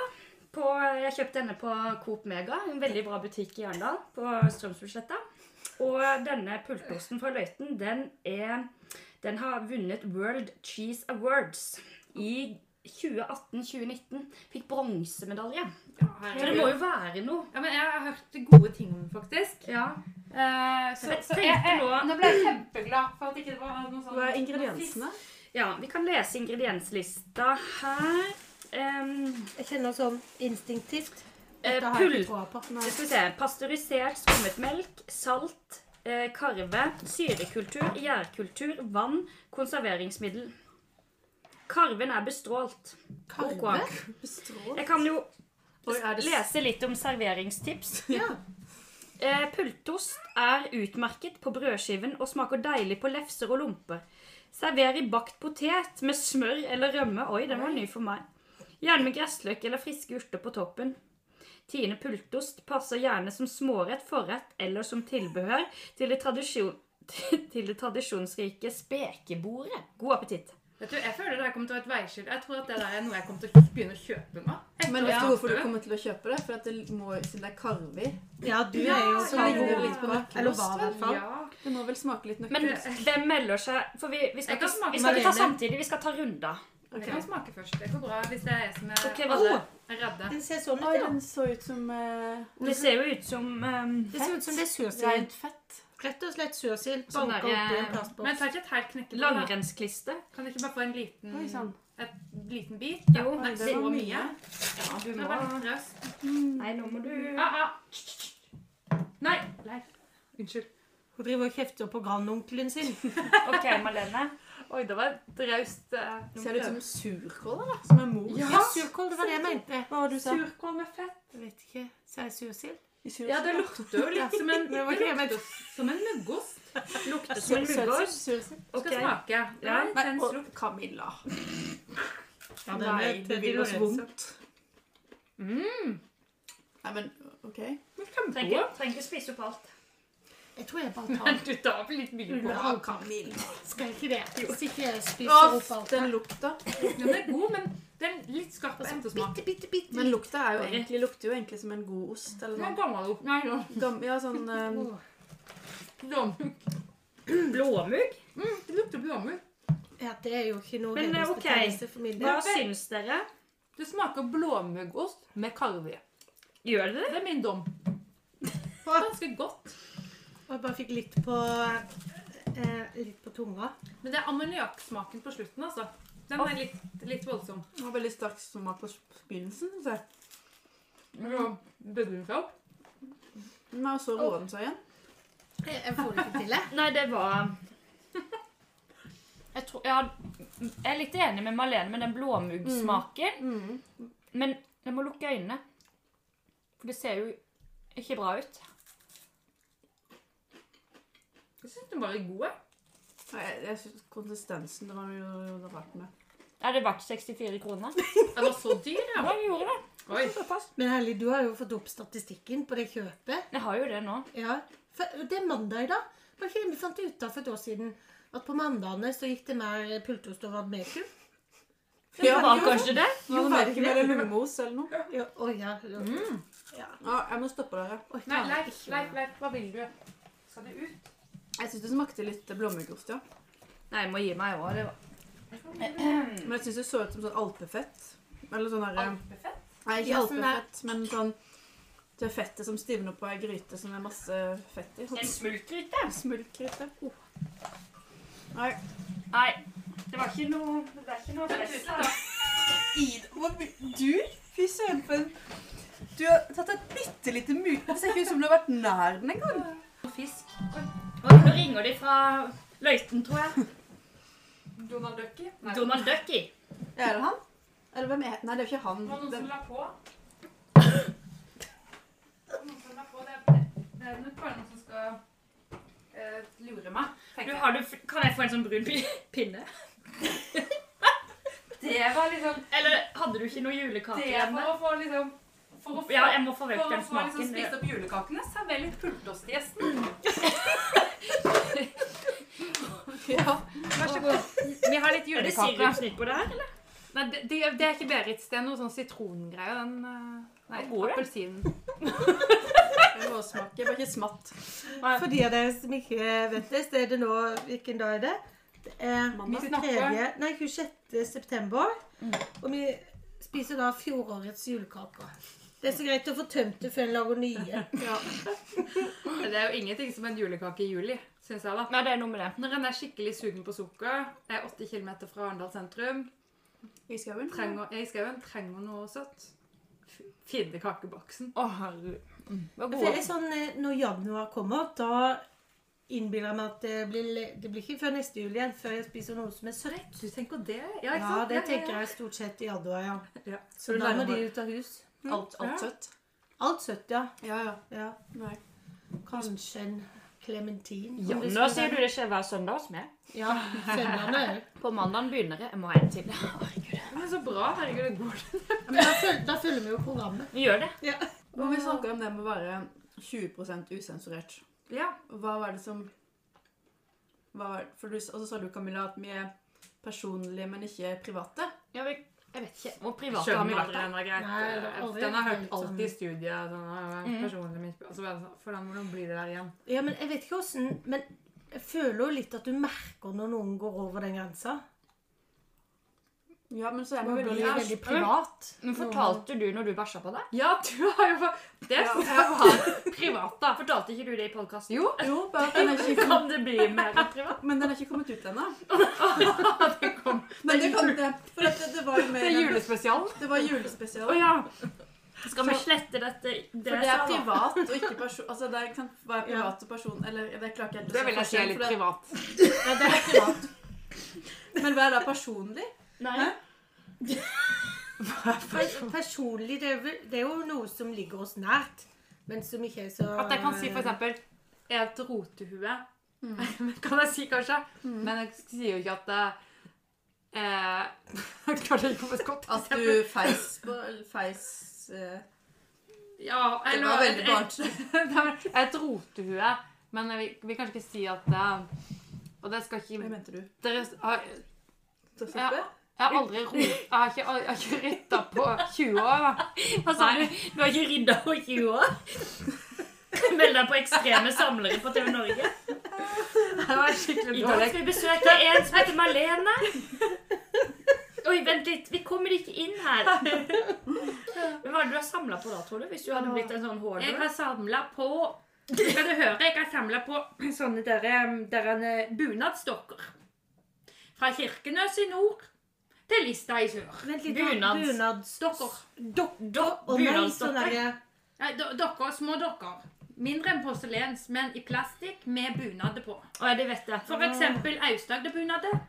Speaker 5: På, jeg kjøpte denne på Coop Mega, en veldig bra butikk i Arendal, på Strømsbudsjetta. Og denne pultosten fra Løiten, den, er, den har vunnet World Cheese Awards i 2018-2019. Fikk bronsemedalje. Så det må jo være noe.
Speaker 1: Ja, men jeg har hørt gode ting om den, faktisk.
Speaker 5: Ja.
Speaker 1: Eh, så,
Speaker 5: Jeg
Speaker 1: så
Speaker 5: tenkte
Speaker 1: jeg, jeg,
Speaker 5: nå-
Speaker 1: nå ble jeg kjempeglad for at ikke det var noe sånn
Speaker 3: Hva er ingrediensene?
Speaker 5: ja, vi kan lese ingredienslista her. Um,
Speaker 4: Jeg kjenner sånn instinktivt.
Speaker 5: eh,
Speaker 4: Dette har jeg
Speaker 5: pul
Speaker 4: ikke troa på.
Speaker 5: Nå Skal vi se. Pasteurisert skummet melk, salt, eh, karve, syrekultur, gjærkultur, vann, konserveringsmiddel. Karven er bestrålt.
Speaker 3: Karve?
Speaker 5: Ok.
Speaker 3: Bestrål?
Speaker 5: Jeg kan jo
Speaker 3: Oi, er det s-
Speaker 5: lese litt om serveringstips.
Speaker 3: *laughs* Ja.
Speaker 5: Eh, pultost er utmerket på brødskiven og smaker deilig på lefser og lomper. Server i bakt potet med smør eller rømme. Oi, den var ny for meg. Gjerne med gressløk eller friske urter på toppen. Tine pultost passer gjerne som smårett, forrett eller som tilbehør til det, tradisjon, *laughs* til det tradisjonsrike spekebordet. God appetitt.
Speaker 1: Vet du, Jeg føler det her kommer til å være et veiskille. Jeg tror at det der er noe jeg kommer til å begynne å kjøpe nå. Etter
Speaker 3: Men vet du
Speaker 1: at jeg
Speaker 3: hvorfor du
Speaker 1: dør.
Speaker 3: kommer til å kjøpe det? For at det må, siden det er karve i.
Speaker 4: Ja, du er jo sånn
Speaker 3: Så ligner det
Speaker 4: karbo.
Speaker 3: litt på
Speaker 4: Eller hva, i
Speaker 3: nøkkelost.
Speaker 4: hvert fall.
Speaker 1: Ja.
Speaker 3: Det må vel smake litt
Speaker 5: Men
Speaker 3: nøkkelost.
Speaker 5: hvem melder seg? For vi, vi skal
Speaker 1: Jeg kan
Speaker 5: ikke
Speaker 1: smake
Speaker 5: vi skal ikke ta
Speaker 3: marine.
Speaker 5: samtidig, vi skal ta runder.
Speaker 1: Jeg kan smake først. Det går bra hvis det er jeg som er
Speaker 5: Ok, hva da?
Speaker 1: er redde.
Speaker 4: Den ser sånn ut,
Speaker 3: Oi,
Speaker 4: ja.
Speaker 3: den så ut som eh,
Speaker 5: Det ser jo ut som ehm,
Speaker 4: Det ser ut som det er sursild.
Speaker 3: rent fett.
Speaker 4: Rett og slett sursild
Speaker 5: Sånn
Speaker 4: banka
Speaker 5: der,
Speaker 4: oppi en
Speaker 5: eh,
Speaker 1: Men jeg
Speaker 4: plastboks.
Speaker 1: tar ikke et helt knekkebrød. da.
Speaker 5: Langrennsklister.
Speaker 1: Kan vi ikke bare få en liten,
Speaker 3: Oi sann.
Speaker 1: et liten bit?
Speaker 5: Jo,
Speaker 1: det er
Speaker 5: det
Speaker 1: så
Speaker 5: var
Speaker 1: mye.
Speaker 5: Ja, du
Speaker 1: Det
Speaker 5: må
Speaker 1: var litt raus.
Speaker 5: Nei, nå må du *laughs*
Speaker 1: Ah, ah. Nei. Leif. Unnskyld.
Speaker 4: Hun driver og kjefter på grandonkelen sin.
Speaker 5: OK, Malene.
Speaker 1: Oi, det var et raust eh,
Speaker 3: Ser det ut som surkål, eller? Som er mor?
Speaker 4: Ja, surkål, det var det jeg mente.
Speaker 3: Hva var det du sa?
Speaker 1: Surkål med fett.
Speaker 4: Jeg vet ikke. Sa jeg sursild?
Speaker 3: Sur
Speaker 1: Ja, det lukter jo litt som en,
Speaker 4: Det var ikke det jeg mente.
Speaker 1: som en muggost.
Speaker 5: Lukter som en muggost.
Speaker 1: Skal smake.
Speaker 5: Ja.
Speaker 1: Nei,
Speaker 3: Nei,
Speaker 1: den
Speaker 3: og
Speaker 1: slukte.
Speaker 3: Camilla.
Speaker 4: Ja, den Mm.
Speaker 3: Nei,
Speaker 4: er-
Speaker 3: det vil oss
Speaker 4: Lorenzo.
Speaker 3: vondt. Nei, men OK.
Speaker 5: Trenger trenger ikke spise opp alt.
Speaker 4: Jeg tror jeg
Speaker 1: *laughs*
Speaker 4: bare tar
Speaker 1: Du tar vel litt mye på
Speaker 3: Bra, Camilla.
Speaker 4: Skal jeg ikke det? Hvis ikke jeg spiser opp
Speaker 3: Å,
Speaker 4: alt.
Speaker 3: den lukta.
Speaker 1: den. Den er god, men den er litt skarp ettersmak.
Speaker 4: Altså, Bitte, bitte, bitte.
Speaker 3: Men lukta er jo egentlig, lukter jo egentlig som en god ost. Eller
Speaker 1: Den er
Speaker 3: sånn.
Speaker 1: gammel. Nei, nå.
Speaker 3: Gam, ja, sånn eh,
Speaker 1: Blåmugg. Mm,
Speaker 5: Blåmugg?
Speaker 1: Det lukter blåmugg.
Speaker 4: Ja, det er jo ikke noe
Speaker 5: Men, eh, ok.
Speaker 4: hedersbetegnelse for min del.
Speaker 5: Hva syns dere?
Speaker 1: Det smaker blåmuggost med karve. i.
Speaker 5: Gjør det det?
Speaker 1: Det er min
Speaker 5: *laughs*
Speaker 1: dom. Ganske godt.
Speaker 4: Og jeg bare fikk litt på eh, Litt på tunga.
Speaker 1: Men det er ammoniakksmaken på slutten, altså. Den er litt, litt voldsom.
Speaker 3: den har veldig sterk smak på begynnelsen. synes jeg.
Speaker 1: Bødde hun seg opp?
Speaker 3: Men så roer den seg igjen.
Speaker 4: Jeg, jeg får det ikke til, jeg.
Speaker 5: Nei, det var ehm, jeg, tror, ja, jeg er litt enig med Malene med den blåmuggsmaken. Men jeg må lukke øynene. For det ser jo ikke bra ut.
Speaker 1: Jeg syns den var litt god. jeg.
Speaker 3: Nei, Jeg, jeg synes Konsistensen det var jo jo noe rart med.
Speaker 5: Er det verdt 64 kroner?
Speaker 1: Den var så dyr, ja.
Speaker 5: Ja, jeg gjorde det.
Speaker 1: Oi.
Speaker 5: Såpass.
Speaker 4: Men Herlig, du har jo fått opp statistikken på det kjøpet.
Speaker 5: Jeg har jo det nå.
Speaker 4: Ja. For, det er mandag i dag. Var ikke det vi fant ut av for et år siden? At på mandagene så gikk det mer pultost og vadmekum?
Speaker 5: Det var kanskje det?
Speaker 3: Jo, var
Speaker 4: var det
Speaker 3: det ikke
Speaker 4: det?
Speaker 3: mer lungemos eller noe?
Speaker 4: Ja, å ja.
Speaker 3: Ja, jeg må stoppe dere.
Speaker 4: Oi,
Speaker 1: Nei,
Speaker 4: da.
Speaker 1: Leif, Leif, Leif, hva vil du? Skal du ut?
Speaker 3: Jeg syns det smakte litt blåmuggost, ja.
Speaker 5: Nei, jeg må gi meg òg. Det var
Speaker 3: Men jeg syns det så ut som sånn alpefett. Eller sånn derre
Speaker 1: Alpefett?
Speaker 3: Nei, ikke
Speaker 4: Ja, sånn der-
Speaker 3: alpefett, men sånn det fettet som stivner på ei gryte som er masse fett i.
Speaker 5: en
Speaker 3: Sånn
Speaker 5: smultgryte.
Speaker 3: smultgryte. Oh. Nei.
Speaker 5: Nei, det var ikke noe Det var ikke noe fest. da.
Speaker 7: Du? Fy søren, for en Du har tatt et bitte lite mur. Det ser ikke ut som du har vært nær den engang.
Speaker 5: Fisk. Oi, Nå ringer de fra Løiten, tror jeg.
Speaker 1: Donald Ducky? Nei.
Speaker 5: Donald Ducky.
Speaker 3: Er det han? Eller hvem er Nei, det er jo ikke han.
Speaker 1: Det var noen
Speaker 3: Det,
Speaker 1: som la på. Det var Noen som la på. Det er, det er nok bare noen som skal eh, lure meg.
Speaker 5: Du,
Speaker 1: tenker jeg.
Speaker 5: har du, kan jeg få en sånn brun pi- pinne?
Speaker 1: Det var liksom
Speaker 5: Eller hadde du ikke noe
Speaker 1: Det
Speaker 5: julekake
Speaker 1: er
Speaker 5: hjemme?
Speaker 1: for å få liksom for å få,
Speaker 5: Ja, jeg må få
Speaker 1: for
Speaker 5: vekk
Speaker 1: å
Speaker 5: den
Speaker 1: få liksom
Speaker 5: smaken.
Speaker 1: spist opp julekakene, server litt pultost
Speaker 5: *laughs*
Speaker 1: til gjesten. ja, vær så god.
Speaker 5: Vi har litt julekake. Er det sirup snitt på det her, eller?
Speaker 1: Nei, det, det det er ikke Berits. Det er noe sånn sitrongreie. Den eh, Nei,
Speaker 5: Hvor er det?
Speaker 1: appelsinen.
Speaker 3: Jeg må smake, bare ikke smatt.
Speaker 4: For de av dere som ikke vet det, så er det nå Hvilken dag er det? Det er
Speaker 1: Mandag. Mm.
Speaker 4: 23. Nei, 26. september. Og vi spiser da fjorårets julekaker. Det er så greit å få tømt det før en lager nye.
Speaker 1: *laughs* Men Det er jo ingenting som en julekake i juli, syns jeg, da.
Speaker 6: Nei, det er noe med det.
Speaker 1: Når en er skikkelig sugen på sukker, er 80 km fra Arendal sentrum,
Speaker 3: I skauen?
Speaker 1: trenger, er i skauen, trenger noe søtt, f- finne kakeboksen.
Speaker 6: Å, herregud. Vær
Speaker 4: For det er sånn, eh, Når januar kommer, da innbiller jeg meg at det blir, le- det blir ikke før neste jul igjen før jeg spiser noe som er søtt.
Speaker 1: Du tenker det? Ja, ikke
Speaker 4: Ja,
Speaker 1: sant?
Speaker 4: det tenker jeg stort sett i januar, ja.
Speaker 1: Ja.
Speaker 4: Så da må de ut av hus.
Speaker 3: Alt,
Speaker 1: Ja.
Speaker 3: alt søtt?
Speaker 4: Alt søtt, ja.
Speaker 3: Ja, ja.
Speaker 4: ja.
Speaker 3: Nei.
Speaker 4: Kanskje en klementin.
Speaker 6: Ja,
Speaker 5: Nå sier du det ikke hver søndag hos meg.
Speaker 4: Ja, sønnene *laughs* òg.
Speaker 6: På mandagen begynner jeg. Jeg må ha en til.
Speaker 1: Men så bra. Herregud, det går.
Speaker 4: Men da, føl da følger vi jo programmet.
Speaker 5: Vi gjør det.
Speaker 3: Men vi snakker om det med å være 20 usensurert.
Speaker 1: Ja.
Speaker 3: Hva var det som var, for du, Og så sa du, Camilla, at vi er personlige, men ikke private.
Speaker 6: Ja, vi- jeg vet ikke.
Speaker 5: Hvor private har
Speaker 1: Skjønner
Speaker 5: vi
Speaker 1: vi
Speaker 5: vært?
Speaker 1: aldri
Speaker 5: da?
Speaker 1: den var greit.
Speaker 4: Nei, det har aldri
Speaker 1: den har jeg
Speaker 4: vært
Speaker 1: hørt alltid i
Speaker 4: sånn.
Speaker 1: studiet. Sånn, ah,
Speaker 5: Mm.
Speaker 6: Mhm.
Speaker 1: personlig mitt. Altså, bare sånn, hvordan, hvordan blir det der igjen?
Speaker 4: Ja, men jeg vet ikke hvordan, Men jeg føler jo litt at du merker når noen går over den grensa.
Speaker 3: Ja, men så er
Speaker 4: Man
Speaker 3: vi
Speaker 4: blir
Speaker 3: veldig
Speaker 4: veldig privat.
Speaker 6: Men fortalte du når du bæsja på deg?
Speaker 1: Ja, du har jo fått Det skal jeg jo ha. Privat, da.
Speaker 5: Fortalte ikke du det i podkasten?
Speaker 1: Jo.
Speaker 3: Jo, bare at den er ikke
Speaker 5: *laughs* Kan det bli mer enn privat?
Speaker 3: Men den er ikke kommet ut ennå.
Speaker 1: Det, kom.
Speaker 3: Men det kom det. For at det, det var jo med
Speaker 1: det er julespesialen.
Speaker 3: Det var julespesial.
Speaker 5: Å ja. Skal vi slette dette? sånn.
Speaker 3: For det er privat og ikke person... Altså, det kan være privat og person... Eller det klarer ikke helt å
Speaker 1: Det vil jeg si er
Speaker 3: forskjell,
Speaker 1: litt
Speaker 3: for det-
Speaker 1: privat.
Speaker 3: Ja, det er privat. Men hva er da personlig?
Speaker 5: Nei.
Speaker 4: Per- Personlig, det er, vel, det er jo noe som ligger oss nært, men som ikke er så
Speaker 1: At jeg kan
Speaker 3: Eh.
Speaker 1: si for eksempel Jeg er et rotehue.
Speaker 3: Mm.
Speaker 1: *laughs* Kan jeg si, kanskje? Men jeg sier jo ikke at eh, *laughs* eh, Jeg klarte ikke å få et godt
Speaker 3: At
Speaker 1: eksempel.
Speaker 3: du feis på
Speaker 1: *laughs*
Speaker 3: Feis eh,
Speaker 1: ja,
Speaker 3: Det
Speaker 1: eller,
Speaker 3: var veldig
Speaker 1: jeg- *laughs*
Speaker 3: barnslig.
Speaker 1: Nei, men Jeg er et rotehue, men jeg vil, vil kanskje ikke si at eh, Og det skal
Speaker 3: Hva
Speaker 1: ikke
Speaker 3: mente du?
Speaker 1: Dere har
Speaker 3: Toppe?
Speaker 1: Jeg har aldri ro... Jeg har ikke, jeg har ikke rytta på 20 år. da.
Speaker 5: Hva sa du? Du har ikke rydda på 20 år? *laughs* Meld deg på ekstreme samlere på TV *laughs* Norge.
Speaker 1: Det var skikkelig
Speaker 5: I dag
Speaker 1: dårlig.
Speaker 5: skal vi besøke en som heter Malene. *laughs* Oi, vent litt. Vi kommer ikke inn her. *laughs* Hvem var det du har samla på da, tror du? Hvis du hadde blitt en sånn
Speaker 1: Jeg
Speaker 5: hoarder?
Speaker 1: har samla på Skal du høre, jeg har samla på sånne der, em, der en, eh, bunadsdokker. Fra Kirkenes i nord til Lista i sør.
Speaker 4: Vent litt,
Speaker 5: Bunads-
Speaker 4: bunadsdokker.
Speaker 5: Dok-
Speaker 4: Å nei, sånn
Speaker 5: bunadsdokker.
Speaker 4: derre
Speaker 1: Nei, do- Dokker, små dokker. Mindre enn porselens, men i plastikk med bunader på.
Speaker 5: Å, ja, det vet jeg.
Speaker 1: For eksempel
Speaker 5: *laughs*
Speaker 1: Aust-Agder-bunader.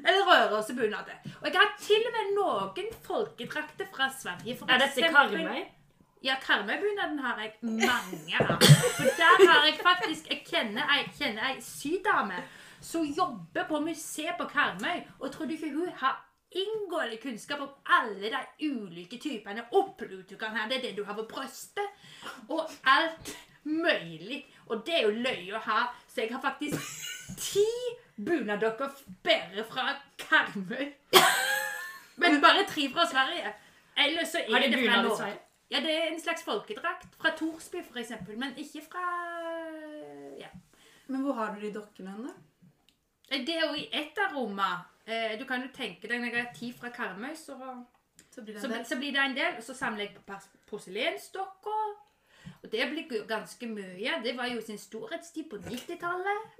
Speaker 1: Eller Rørossebunader. Og jeg har til og med noen folkedrakter fra Sverige. For
Speaker 5: Er dette
Speaker 1: eksempel-
Speaker 5: Karmøy?
Speaker 1: Ja, Karmøybunaden har jeg mange av. For der har jeg faktisk Jeg kjenner ei, kjenner ei sydame som jobber på museet på Karmøy. Og tror du ikke hun har inngående kunnskap om alle de ulike typene opplut du kan ha? Det er det du har på brystet, og alt mulig. Og det er jo løye å ha, så jeg har faktisk ti bunadokker bare fra Karmøy. Men bare tre fra Sverige. Ellers så
Speaker 5: Har
Speaker 1: er
Speaker 5: de
Speaker 1: det fra
Speaker 5: bunad i
Speaker 1: Norge.
Speaker 5: Sverige?
Speaker 1: Ja, det er en slags folkedrakt fra Torsby, for eksempel, men ikke fra eh, ja.
Speaker 3: Men hvor har du de dokkene henne?
Speaker 1: Det er jo i ett av rommene. Eh, Du kan jo tenke deg når jeg har ti fra Karmøy, så,
Speaker 3: Så blir det
Speaker 1: så,
Speaker 3: en del.
Speaker 1: så blir det en del. Og så samler jeg på pers- porselensdokker. Og det blir jo ganske mye. Det var jo sin storhetstid på 90-tallet.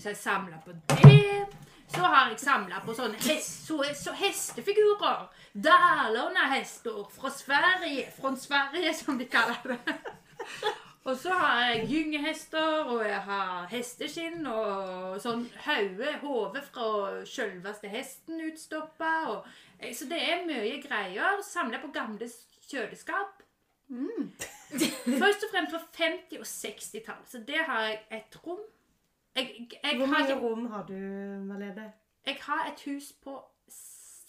Speaker 1: Så jeg samla på det. Så har jeg samla på sånne hest, så, så hestefigurer. Dalarna-hester fra Sverige. Fra Sverige, som de kaller det. Og så har jeg gyngehester, og jeg har hesteskinn og sånn hauge, hode fra sjølveste hesten utstoppa. Og, eh, så det er mye greier. Samla på gamle s- kjøleskap.
Speaker 4: Mm.
Speaker 1: *laughs* Først og fremst fra 50- og 60-tallet. Så det har jeg et rom. Jeg, jeg, jeg,
Speaker 4: Hvor
Speaker 1: har,
Speaker 4: mange
Speaker 1: ikke-
Speaker 4: rom har du, Malene?
Speaker 1: jeg har et hus på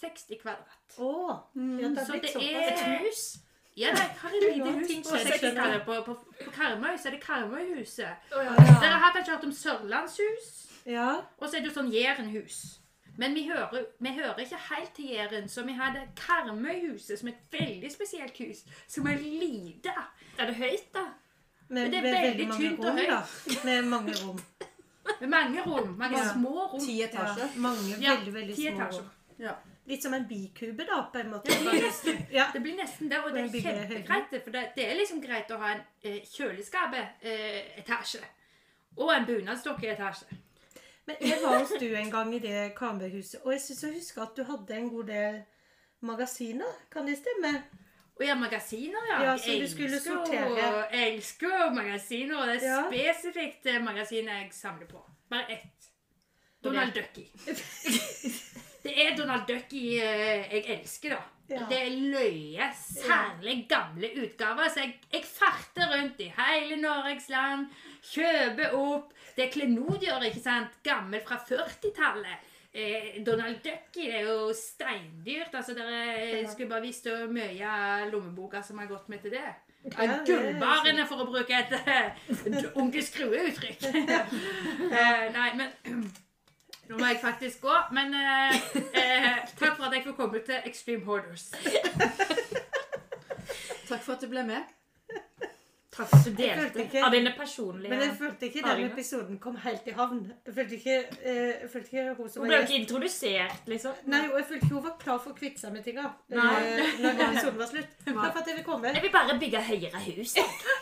Speaker 1: 60 kvadrat.
Speaker 4: Å! ja, det har
Speaker 1: Mm, Så
Speaker 4: blitt
Speaker 1: det
Speaker 4: såpass.
Speaker 1: er
Speaker 5: Hus?
Speaker 1: Ja, nei, jeg har et lite hus
Speaker 4: ting
Speaker 1: på
Speaker 4: skjer.
Speaker 1: 60-tallet. På, på, på Karmøy så er det Karmøyhuset.
Speaker 4: Ja.
Speaker 1: Dere har kanskje hørt om Sørlandshus?
Speaker 4: Ja.
Speaker 1: Og så er det jo sånn Jærenhus. Men vi hører, vi hører ikke helt til Jæren, så vi hadde Karmøyhuset som et veldig spesielt hus, som er lite. Er det høyt, da? Men det er veldig tynt og høyt.
Speaker 4: Med mange
Speaker 1: *laughs*
Speaker 4: rom.
Speaker 1: Med mange rom. Mange
Speaker 4: Ja.
Speaker 1: små rom.
Speaker 4: Ti etasjer. Mange
Speaker 1: Ja,
Speaker 4: veldig, veldig
Speaker 1: ti
Speaker 4: små
Speaker 1: etasjer.
Speaker 4: rom.
Speaker 3: Ja.
Speaker 4: Litt som en bikube, da, på en måte.
Speaker 1: Det blir nesten,
Speaker 4: Ja.
Speaker 1: det blir nesten det, og det
Speaker 4: Men
Speaker 1: er
Speaker 4: bygger det høyere?
Speaker 1: kjempegreit. det, For det, det er liksom greit å ha en eh, kjøleskapetasje. Og en bunadsdokke i etasje.
Speaker 4: Men jeg var hos du en gang i det Karmøyhuset, og jeg syns jeg husker at du hadde en god del magasiner. Kan det stemme?
Speaker 1: Og ja, magasiner, ja.
Speaker 4: Ja,
Speaker 1: Jeg
Speaker 4: som du skulle
Speaker 1: elsker jo-
Speaker 4: sortere.
Speaker 1: Jeg elsker jo magasiner, og det er
Speaker 4: Ja.
Speaker 1: spesifikt det magasinet jeg samler på. Bare ett. Donald Ducky.
Speaker 4: *laughs*
Speaker 1: det er Donald Ducky eh, jeg elsker, da.
Speaker 4: Ja.
Speaker 1: Det er løye, særlig gamle utgaver. Så jeg, jeg farter rundt i hele Norges land, kjøper opp Det er klenodier, ikke sant? Gammel fra 40-tallet. Eh, Donald Ducky det er jo steindyrt. altså Dere
Speaker 4: Ja.
Speaker 1: skulle bare visst hvor mye av lommeboka som har gått med til det.
Speaker 4: Ja,
Speaker 1: Av
Speaker 4: det er
Speaker 1: gullbarene, for å bruke et eh, onkel
Speaker 4: *laughs*
Speaker 1: Skrue-uttrykk. Eh, nei, men Nå må jeg faktisk gå. Men eh, eh, takk for at jeg får komme til Extreme Hoarders.
Speaker 3: Takk for at du ble med.
Speaker 5: Takk for at du
Speaker 4: Jeg følte
Speaker 5: delte
Speaker 4: ikke-
Speaker 5: av dine personlige
Speaker 4: Men jeg følte ikke den
Speaker 5: Arild.
Speaker 4: episoden kom helt i havn. Jeg følte ikke, eh, jeg følte ikke hun som
Speaker 5: Hun ble
Speaker 4: var
Speaker 5: jo
Speaker 4: gjest
Speaker 5: ikke introdusert, liksom.
Speaker 4: Nei, og jeg følte ikke hun var klar for å kvitte seg med tinga eh, når episoden var
Speaker 1: *laughs*
Speaker 4: slutt. Takk for at jeg vil komme.
Speaker 5: Jeg vil bare bygge høyere hus.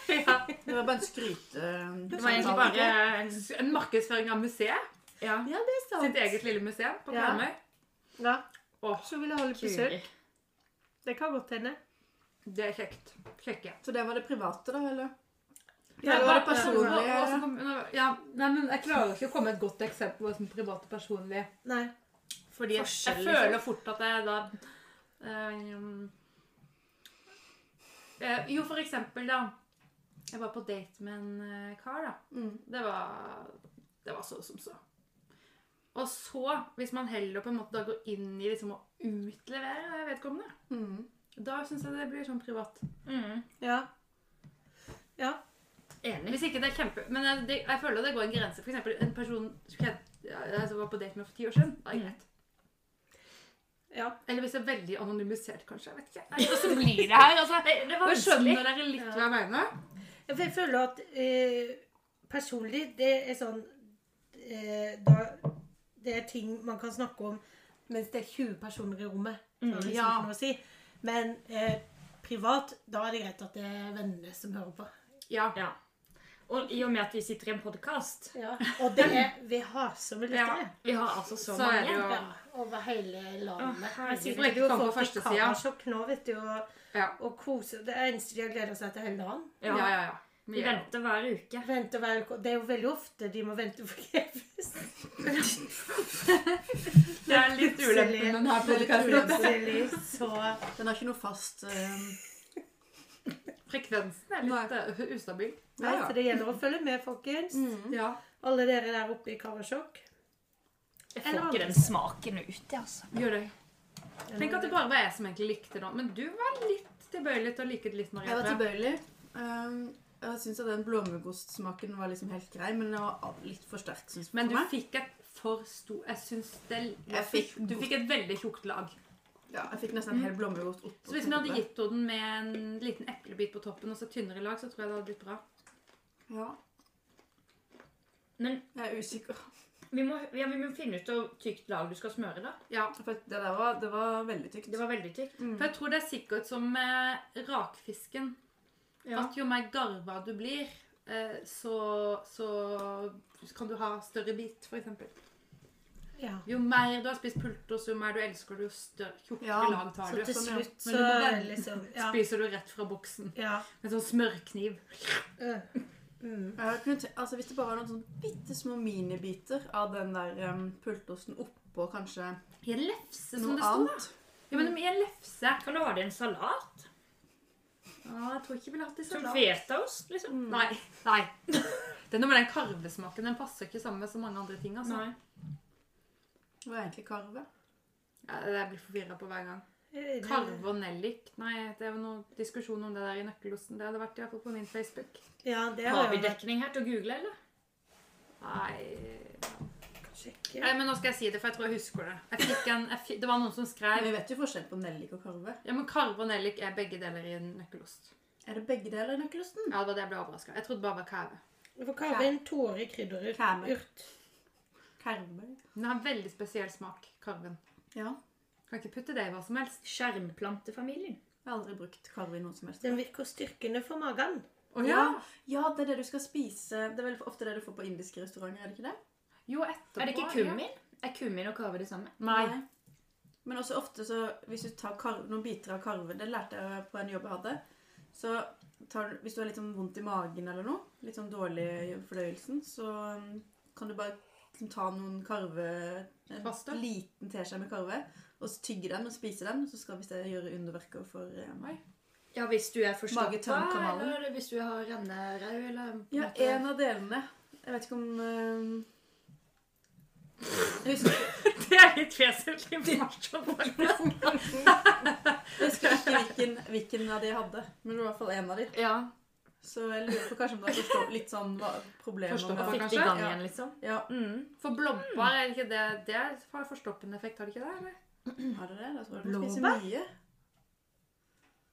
Speaker 3: Det var bare en skryte...
Speaker 1: Det var egentlig bare en, en markedsføring av museet.
Speaker 5: Ja.
Speaker 1: Sitt eget lille museum på
Speaker 4: Ja.
Speaker 1: Karmøy.
Speaker 4: Ja.
Speaker 1: Åh,
Speaker 4: Så vil jeg holde besøk. Det kan godt hende.
Speaker 1: det er kjekt. Kjekke.
Speaker 3: Så det var det private, da, eller?
Speaker 4: Ja,
Speaker 3: Eller var det personlige?
Speaker 1: personlige ja, nei, men Jeg klarer ikke å komme med et godt eksempel på hva som er privat og personlig.
Speaker 4: Nei.
Speaker 1: Fordi jeg, jeg føler fort at jeg da eh, um, eh, Jo, for eksempel, da. Jeg var på date med en eh, kar, da. Det var, det var så som så. Og så, hvis man heller på en måte da går inn i liksom å utlevere vedkommende, da syns jeg det blir sånn privat.
Speaker 5: Mm.
Speaker 4: Ja. Ja.
Speaker 5: Enig.
Speaker 1: Hvis ikke det er kjempe... Men jeg, det, jeg føler det går en grense. For eksempel en person som jeg, jeg var på date med for ti år siden, da er det greit.
Speaker 4: Ja.
Speaker 1: Eller hvis det er veldig anonymisert, kanskje. Jeg vet ikke. Nei,
Speaker 5: Og så blir det her, altså. Det, det var
Speaker 1: Jeg skjønner
Speaker 5: vanskelig.
Speaker 1: dere litt hva jeg mener.
Speaker 4: Ja, For jeg føler at eh, personlig, det er sånn eh, da, Det er ting man kan snakke om mens det er 20 personer i rommet. Mm, liksom
Speaker 1: ja.
Speaker 4: ikke noe å si. Men eh, privat, da er det greit at det er vennene som hører på.
Speaker 1: Ja.
Speaker 5: Ja. Og i og med at vi sitter i en podkast
Speaker 4: Og det er vi har så mye lyttere.
Speaker 5: Vi har altså så,
Speaker 1: Så er det
Speaker 5: mange.
Speaker 1: jo
Speaker 4: Ja, over hele landet.
Speaker 5: Å, herregud.
Speaker 4: Sitter jo
Speaker 1: Kom på
Speaker 4: folk i
Speaker 1: førstesida.
Speaker 4: kamersjokk nå, vet du, og,
Speaker 1: Ja,
Speaker 4: og koser. Det eneste de har gleda seg til hele dagen.
Speaker 1: ja,
Speaker 5: Ja.
Speaker 1: ja. ja.
Speaker 5: Vi
Speaker 1: Mye.
Speaker 5: venter hver uke.
Speaker 4: Venter hver uke. og Det er jo veldig ofte de må vente forgjeves. *laughs*
Speaker 1: Det er litt ulempen med denne podcasten.
Speaker 4: Plutselig så
Speaker 3: Den har ikke noe fast eh,
Speaker 1: Frekvensen er litt eh, ustabil.
Speaker 4: Nei,
Speaker 3: Ja, ja.
Speaker 4: så det gjelder å følge med, folkens.
Speaker 1: Ja.
Speaker 4: Alle dere der oppe i Karasjok.
Speaker 5: Jeg
Speaker 4: Eller
Speaker 5: får ikke
Speaker 4: andre.
Speaker 5: den smaken ut, jeg, altså.
Speaker 1: Gjør det. Tenk at det bare var jeg som egentlig likte det. Men du var litt tilbøyelig til å like det litt,
Speaker 3: Jeg var
Speaker 1: Mariette.
Speaker 3: tilbøyelig. Ehm, jeg syns at den blåmugostsmaken var liksom helt grei, men den var litt for sterk. Synes jeg,
Speaker 1: Men
Speaker 3: for
Speaker 1: du
Speaker 3: meg.
Speaker 1: fikk et for stor Jeg syns det
Speaker 3: Jeg fikk
Speaker 1: Du fikk et veldig tjukt lag.
Speaker 3: Ja, jeg fikk nesten en hel blåmuggost oppå.
Speaker 1: Så hvis vi hadde gitt henne den med en liten eplebit på toppen og så tynnere lag, så tror jeg det hadde blitt bra.
Speaker 3: Ja,
Speaker 5: Men
Speaker 3: jeg er usikker.
Speaker 5: vi må, ja, vi må finne ut hvor tykt lag du skal smøre, da.
Speaker 1: Ja.
Speaker 3: For det der var, det var veldig tykt.
Speaker 5: Det var veldig tykt.
Speaker 3: Mm.
Speaker 1: For jeg tror det er sikkert som med rakfisken.
Speaker 5: Ja.
Speaker 1: At jo mer garva du blir, eh, så, så kan du ha større bit, f.eks.
Speaker 4: Ja.
Speaker 1: Jo mer du har spist pultos, jo mer du elsker det, jo større tjukkere
Speaker 3: Ja,
Speaker 1: lag tar
Speaker 4: Så
Speaker 1: du.
Speaker 4: til
Speaker 3: sånn, ja.
Speaker 4: slutt
Speaker 1: Men
Speaker 4: så
Speaker 1: du må
Speaker 4: er
Speaker 1: vente.
Speaker 4: liksom Ja.
Speaker 1: Spiser du rett fra boksen
Speaker 4: ja.
Speaker 1: med sånn smørkniv.
Speaker 4: øh, Mm.
Speaker 3: Jeg kunne te- altså, hvis det bare var noen sånn bitte små minibiter av den der ehm, pultosten oppå kanskje
Speaker 1: I en lefse,
Speaker 3: noe
Speaker 1: som det sto.
Speaker 3: annet
Speaker 1: Ja, men i en lefse.
Speaker 5: Kan du ha det i en salat?
Speaker 1: Ja, jeg tror ikke vi ville hatt det i
Speaker 5: Som
Speaker 1: salat.
Speaker 5: fetaost, liksom?
Speaker 1: Nei. Mm. nei. *laughs* Det er noe med den karvesmaken. Den passer ikke sammen med så mange andre ting. altså.
Speaker 5: Nei.
Speaker 3: Det var egentlig karve.
Speaker 1: Ja, jeg blir forvirra på hver gang.
Speaker 4: Eh,
Speaker 1: Karve og nellik. Nei, det er jo noe diskusjon om det der i nøkkelosten. Det hadde vært i hvert fall på min Facebook.
Speaker 4: Ja, det
Speaker 5: Har
Speaker 4: har
Speaker 5: vi
Speaker 4: jo vært
Speaker 5: dekning her til å google, eller?
Speaker 1: Nei
Speaker 4: Sjekke.
Speaker 1: Nei, men nå skal jeg si det, for jeg tror jeg husker det. Jeg fikk en, jeg fikk, det var noen som
Speaker 3: Men
Speaker 1: skrev
Speaker 3: vi vet jo forskjell på nellik og karve.
Speaker 1: Ja, men karve og nellik er begge deler i en nøkkelost.
Speaker 3: Er det begge deler i nøkkelosten?
Speaker 1: Ja, det var det jeg ble overraska. Jeg trodde bare det var kave.
Speaker 4: For karve er en tåre krydderurt.
Speaker 3: Karve.
Speaker 4: Urt.
Speaker 3: Karve.
Speaker 1: Den har en veldig spesiell smak, karven.
Speaker 3: Ja.
Speaker 1: Kan ikke putte det i hva som helst.
Speaker 5: Skjermplantefamilien.
Speaker 3: Jeg har aldri brukt karve i noe som helst.
Speaker 4: Den virker styrkende for magen.
Speaker 1: Å
Speaker 3: Ja. ja, det er det du skal spise. Det er vel ofte det du får på indiske restauranter, er det ikke det?
Speaker 1: Jo, etterpå.
Speaker 5: Er det ikke
Speaker 1: ja.
Speaker 5: kummin? Er kummin og kave det samme?
Speaker 1: Nei.
Speaker 3: Men også ofte så, hvis du tar karv, noen biter av karve, det lærte jeg på en jobb jeg hadde, så tar du, hvis du har litt sånn vondt i magen eller noe, litt sånn dårlig i fordøyelsen, så um, kan du bare liksom ta noen karve, en
Speaker 1: Faste?
Speaker 3: liten teskje med karve, og så tygge den og spise den, så skal visst det gjøre underverker for eh, meg.
Speaker 5: Ja, hvis du er forstoppa,
Speaker 3: Mage-tarm-kanalen.
Speaker 5: eller hvis du har rennerau, eller
Speaker 3: Ja,
Speaker 5: på en måte-
Speaker 3: en av delene. Jeg vet ikke om eh, jeg, husker,
Speaker 1: *laughs* Det er litt vesentlig informasjon.
Speaker 3: jeg husker ikke hvilken, hvilken av de jeg hadde, men det var i hvert fall en av de.
Speaker 1: Ja.
Speaker 3: Så jeg lurer på kanskje om det har forstå- litt sånn hva- problemer
Speaker 1: Forstoppa,
Speaker 3: med
Speaker 5: Fikk det i
Speaker 1: kanskje?
Speaker 5: gang
Speaker 3: Ja.
Speaker 5: igjen, liksom.
Speaker 3: Ja,
Speaker 5: Mm.
Speaker 1: For blåbær, er det ikke det? Det har forstoppende effekt, har det ikke det? eller?
Speaker 3: har dere det? Da tror jeg du må spise mye.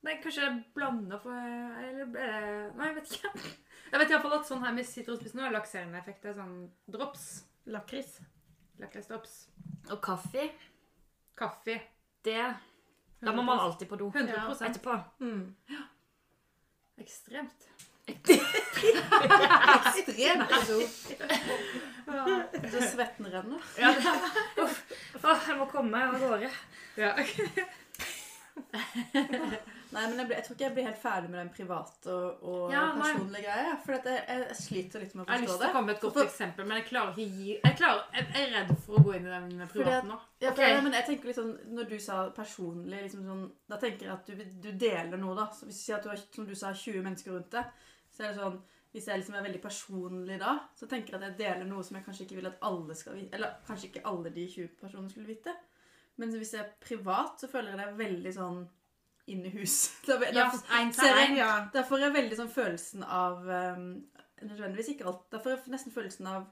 Speaker 1: Nei, kanskje jeg blander for Eller er det Nei, jeg vet ikke. *laughs* Jeg vet iallfall at sånn her med sitronspissen har lakserende effekt. Det er sånn drops.
Speaker 4: Lakris.
Speaker 1: Lakrisdrops.
Speaker 5: Og kaffe,
Speaker 1: Kaffe.
Speaker 5: det Da må man alltid på do
Speaker 1: 100
Speaker 5: etterpå.
Speaker 1: Ekstremt.
Speaker 3: Ekstremt god. Så svetten renner.
Speaker 5: Å, jeg må komme meg av gårde.
Speaker 1: Ja.
Speaker 3: Nei, men jeg, blir- jeg tror ikke jeg blir helt ferdig med den private og, og
Speaker 1: Ja, nei.
Speaker 3: personlige greia. ja, For at jeg, jeg sliter litt med å
Speaker 1: Jeg har lyst
Speaker 3: forstå
Speaker 1: til å
Speaker 3: det.
Speaker 1: komme med et godt
Speaker 3: For-
Speaker 1: eksempel, men jeg klarer ikke å gi Jeg, klarer, jeg jeg er redd for å gå inn i den privaten nå.
Speaker 3: Ja, for,
Speaker 5: Ok.
Speaker 3: nei, men jeg tenker litt sånn, Når du sa personlig, liksom sånn, da tenker jeg at du, du deler noe. da. Så hvis du sier at du har som du sa, 20 mennesker rundt deg, så er det sånn Hvis jeg liksom er veldig personlig da, så tenker jeg at jeg deler noe som jeg kanskje ikke vil at alle skal vite. Eller kanskje ikke alle de 20 personene skulle vite. Men hvis jeg er privat, så føler jeg det er veldig sånn inn i hus. *laughs* Da, da,
Speaker 1: Ja, en
Speaker 3: ser
Speaker 1: til
Speaker 3: jeg-
Speaker 1: en.
Speaker 3: ja, da får jeg veldig sånn følelsen av ehm, Nødvendigvis ikke alt. Da får jeg nesten følelsen av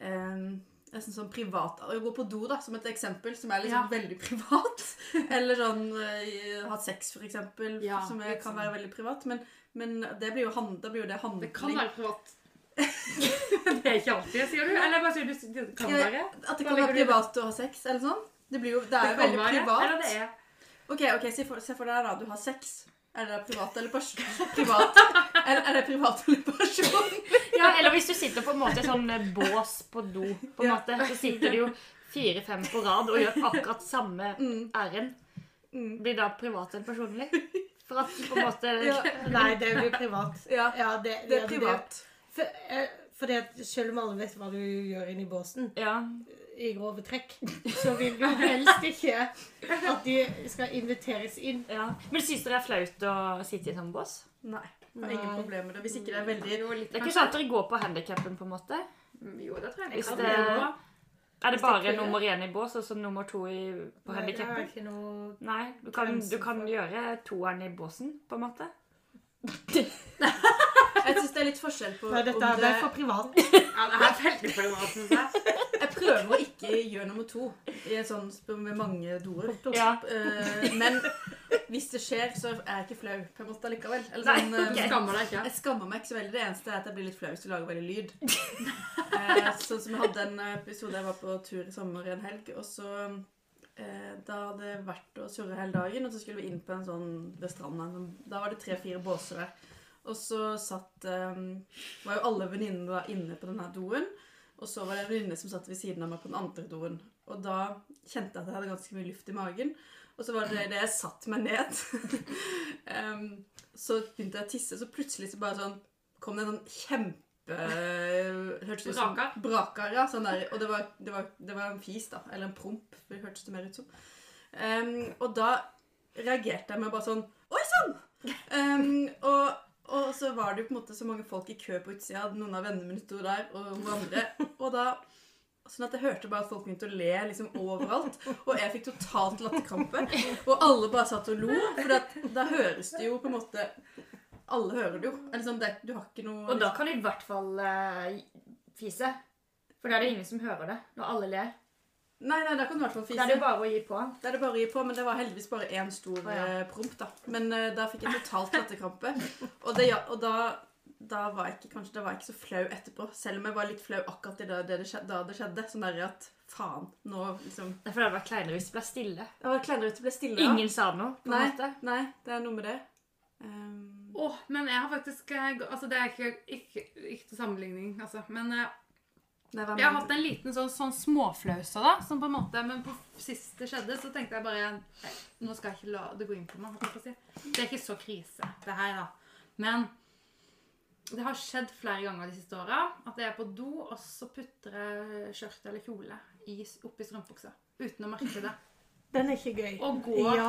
Speaker 3: ehm, Nesten sånn privat Å gå på do, da, som et eksempel, som er liksom
Speaker 1: Ja.
Speaker 3: veldig *laughs* privat. Eller sånn eh, ha sex, for eksempel,
Speaker 1: Ja,
Speaker 3: som er,
Speaker 1: litt
Speaker 3: kan
Speaker 1: sånn.
Speaker 3: være veldig privat. Men, men det blir jo hand, da blir jo det handling.
Speaker 1: Det kan være privat. *laughs* det er ikke alltid, sier du? Eller bare sier du det kan
Speaker 3: Ja,
Speaker 1: være?
Speaker 3: At det
Speaker 1: Hva
Speaker 3: kan være
Speaker 1: legger du i det?
Speaker 3: privat å ha sex, eller sånn. Det, blir jo, det er jo
Speaker 1: kan
Speaker 3: veldig
Speaker 1: være, Eller
Speaker 3: privat.
Speaker 1: det er.
Speaker 3: Ok, ok, Se for, se for deg da, du har sex. Er det privat eller person? *laughs* Privat. Er, er det privat eller person?
Speaker 5: Ja, eller hvis du sitter på en måte i sånn eh, bås på do, på en måte, så sitter det jo fire-fem på rad og gjør akkurat samme
Speaker 3: Mm.
Speaker 5: ærend.
Speaker 3: Mm.
Speaker 5: Blir da privat eller personlig? For at på en måte
Speaker 3: Ja,
Speaker 4: Nei, det blir privat.
Speaker 3: ja,
Speaker 4: Ja, det,
Speaker 3: det er
Speaker 4: ja,
Speaker 3: privat.
Speaker 4: For, eh, fordi at selv om alle vet hva du gjør inni båsen, eh,
Speaker 5: Ja.
Speaker 4: i grove trekk, *laughs* så vil du helst ikke at de skal inviteres inn.
Speaker 5: ja. Men syns dere det er flaut å sitte i en sånn bås?
Speaker 3: Nei. Har ingen
Speaker 4: Nei.
Speaker 3: problemer med det. Hvis ikke det er veldig
Speaker 1: Jo, litt
Speaker 5: Det er ikke sånn at dere går på handikappen, på en måte?
Speaker 1: kanskje. Jo, det tror jeg.
Speaker 5: Hvis det-
Speaker 1: Hvis det
Speaker 5: Er det
Speaker 4: Hvis det er
Speaker 5: bare
Speaker 4: kø.
Speaker 5: nummer én i bås og så nummer to i, på
Speaker 4: Nei, det er
Speaker 5: handikappen?
Speaker 4: ikke noe
Speaker 5: Nei, du kan, du
Speaker 4: grensen
Speaker 5: kan
Speaker 4: for-
Speaker 5: gjøre toeren i båsen, på en måte.
Speaker 3: Jeg syns det er litt forskjell på
Speaker 4: Nei, dette
Speaker 3: om
Speaker 4: er
Speaker 3: det
Speaker 4: for privat.
Speaker 1: Ja, det er veldig privat, synes jeg.
Speaker 3: Jeg prøver å ikke gjøre nummer to i en sånn sp- med mange doer.
Speaker 5: Ja.
Speaker 3: Eh, men hvis det skjer, så er jeg ikke flau på en måte likevel. Eller
Speaker 5: *laughs* Nei,
Speaker 3: sånn, eh,
Speaker 1: Du skammer deg ikke.
Speaker 3: Jeg skammer meg ikke så veldig. Det eneste er at jeg blir litt flau hvis du lager veldig lyd. Eh, sånn som jeg hadde en episode jeg var på tur i sommer en helg, og så eh, Da hadde jeg vært og surra hele dagen, og så skulle vi inn på en sånn ved stranda. en sånn- Da var det tre-fire båser der. Og så satt eh, Var jo alle venninnene da inne på den her doen. Og så var det en venninne som satt ved siden av meg på den andre doen. Og da kjente jeg at jeg hadde ganske mye luft i magen. Og så var det det jeg satt meg ned. *laughs* um, så begynte jeg å tisse, så plutselig så bare sånn kom det en sånn kjempe Hørtes ut som
Speaker 1: Brakar?
Speaker 3: Brakar, ja. Sånn der, og det var, det, var, det var en fis, da. Eller en promp, det hørtes det mer ut som. Um, og da reagerte jeg med bare sånn Oi sann! Um, og, og så var det jo på en måte så mange folk i kø på utsida. Noen av vennene mine sto der, og hun andre. Og da Sånn at jeg hørte bare at folk begynte å le liksom overalt. Og jeg fikk totalt latterkrampe. Og alle bare satt og lo. For at, da høres det jo på en måte Alle hører det jo. Eller sånn, det, du har ikke noe
Speaker 5: Og da kan du i hvert fall eh, fise. For da er det ingen som hører det når alle ler.
Speaker 3: Nei, nei, der kan du i hvert fall
Speaker 5: Da er det
Speaker 3: fise.
Speaker 5: jo bare å gi på.
Speaker 3: Det er det bare å gi på, men det var heldigvis bare én stor
Speaker 5: Å, ja.
Speaker 3: eh, promp, da. Men eh, da fikk jeg totalt latterkrampe. Og, det, ja, og da, da var jeg ikke, kanskje, da var jeg ikke så flau etterpå. Selv om jeg var litt flau akkurat i det, det, det skjedde, da det skjedde. Sånn der at faen, nå liksom
Speaker 5: Derfor hadde det vært kleinere hvis det ble stille.
Speaker 3: Det var kleinere ut å bli stille. da.
Speaker 5: Ingen sa noe, på en
Speaker 3: Nei.
Speaker 5: måte.
Speaker 3: Nei, det er noe med det. Ehm,
Speaker 1: Åh, men jeg har faktisk eh, gå- Altså, det er ikke, ikke, ikke til sammenligning, altså. Men eh,
Speaker 3: nei, hva
Speaker 1: jeg har
Speaker 3: mener
Speaker 1: hatt en liten sånn, sånn småflause, da. Som på en måte Men på sist det skjedde, så tenkte jeg bare eh, Nå skal jeg ikke la det gå inn på meg. holdt jeg på å si. Det er ikke så krise, det her, da. Men det har skjedd flere ganger de siste åra at jeg er på do, og så putter jeg skjørt eller kjole i, oppi strømpuksa. Uten å merke det.
Speaker 4: Den er ikke gøy.
Speaker 1: Og går
Speaker 4: Ja.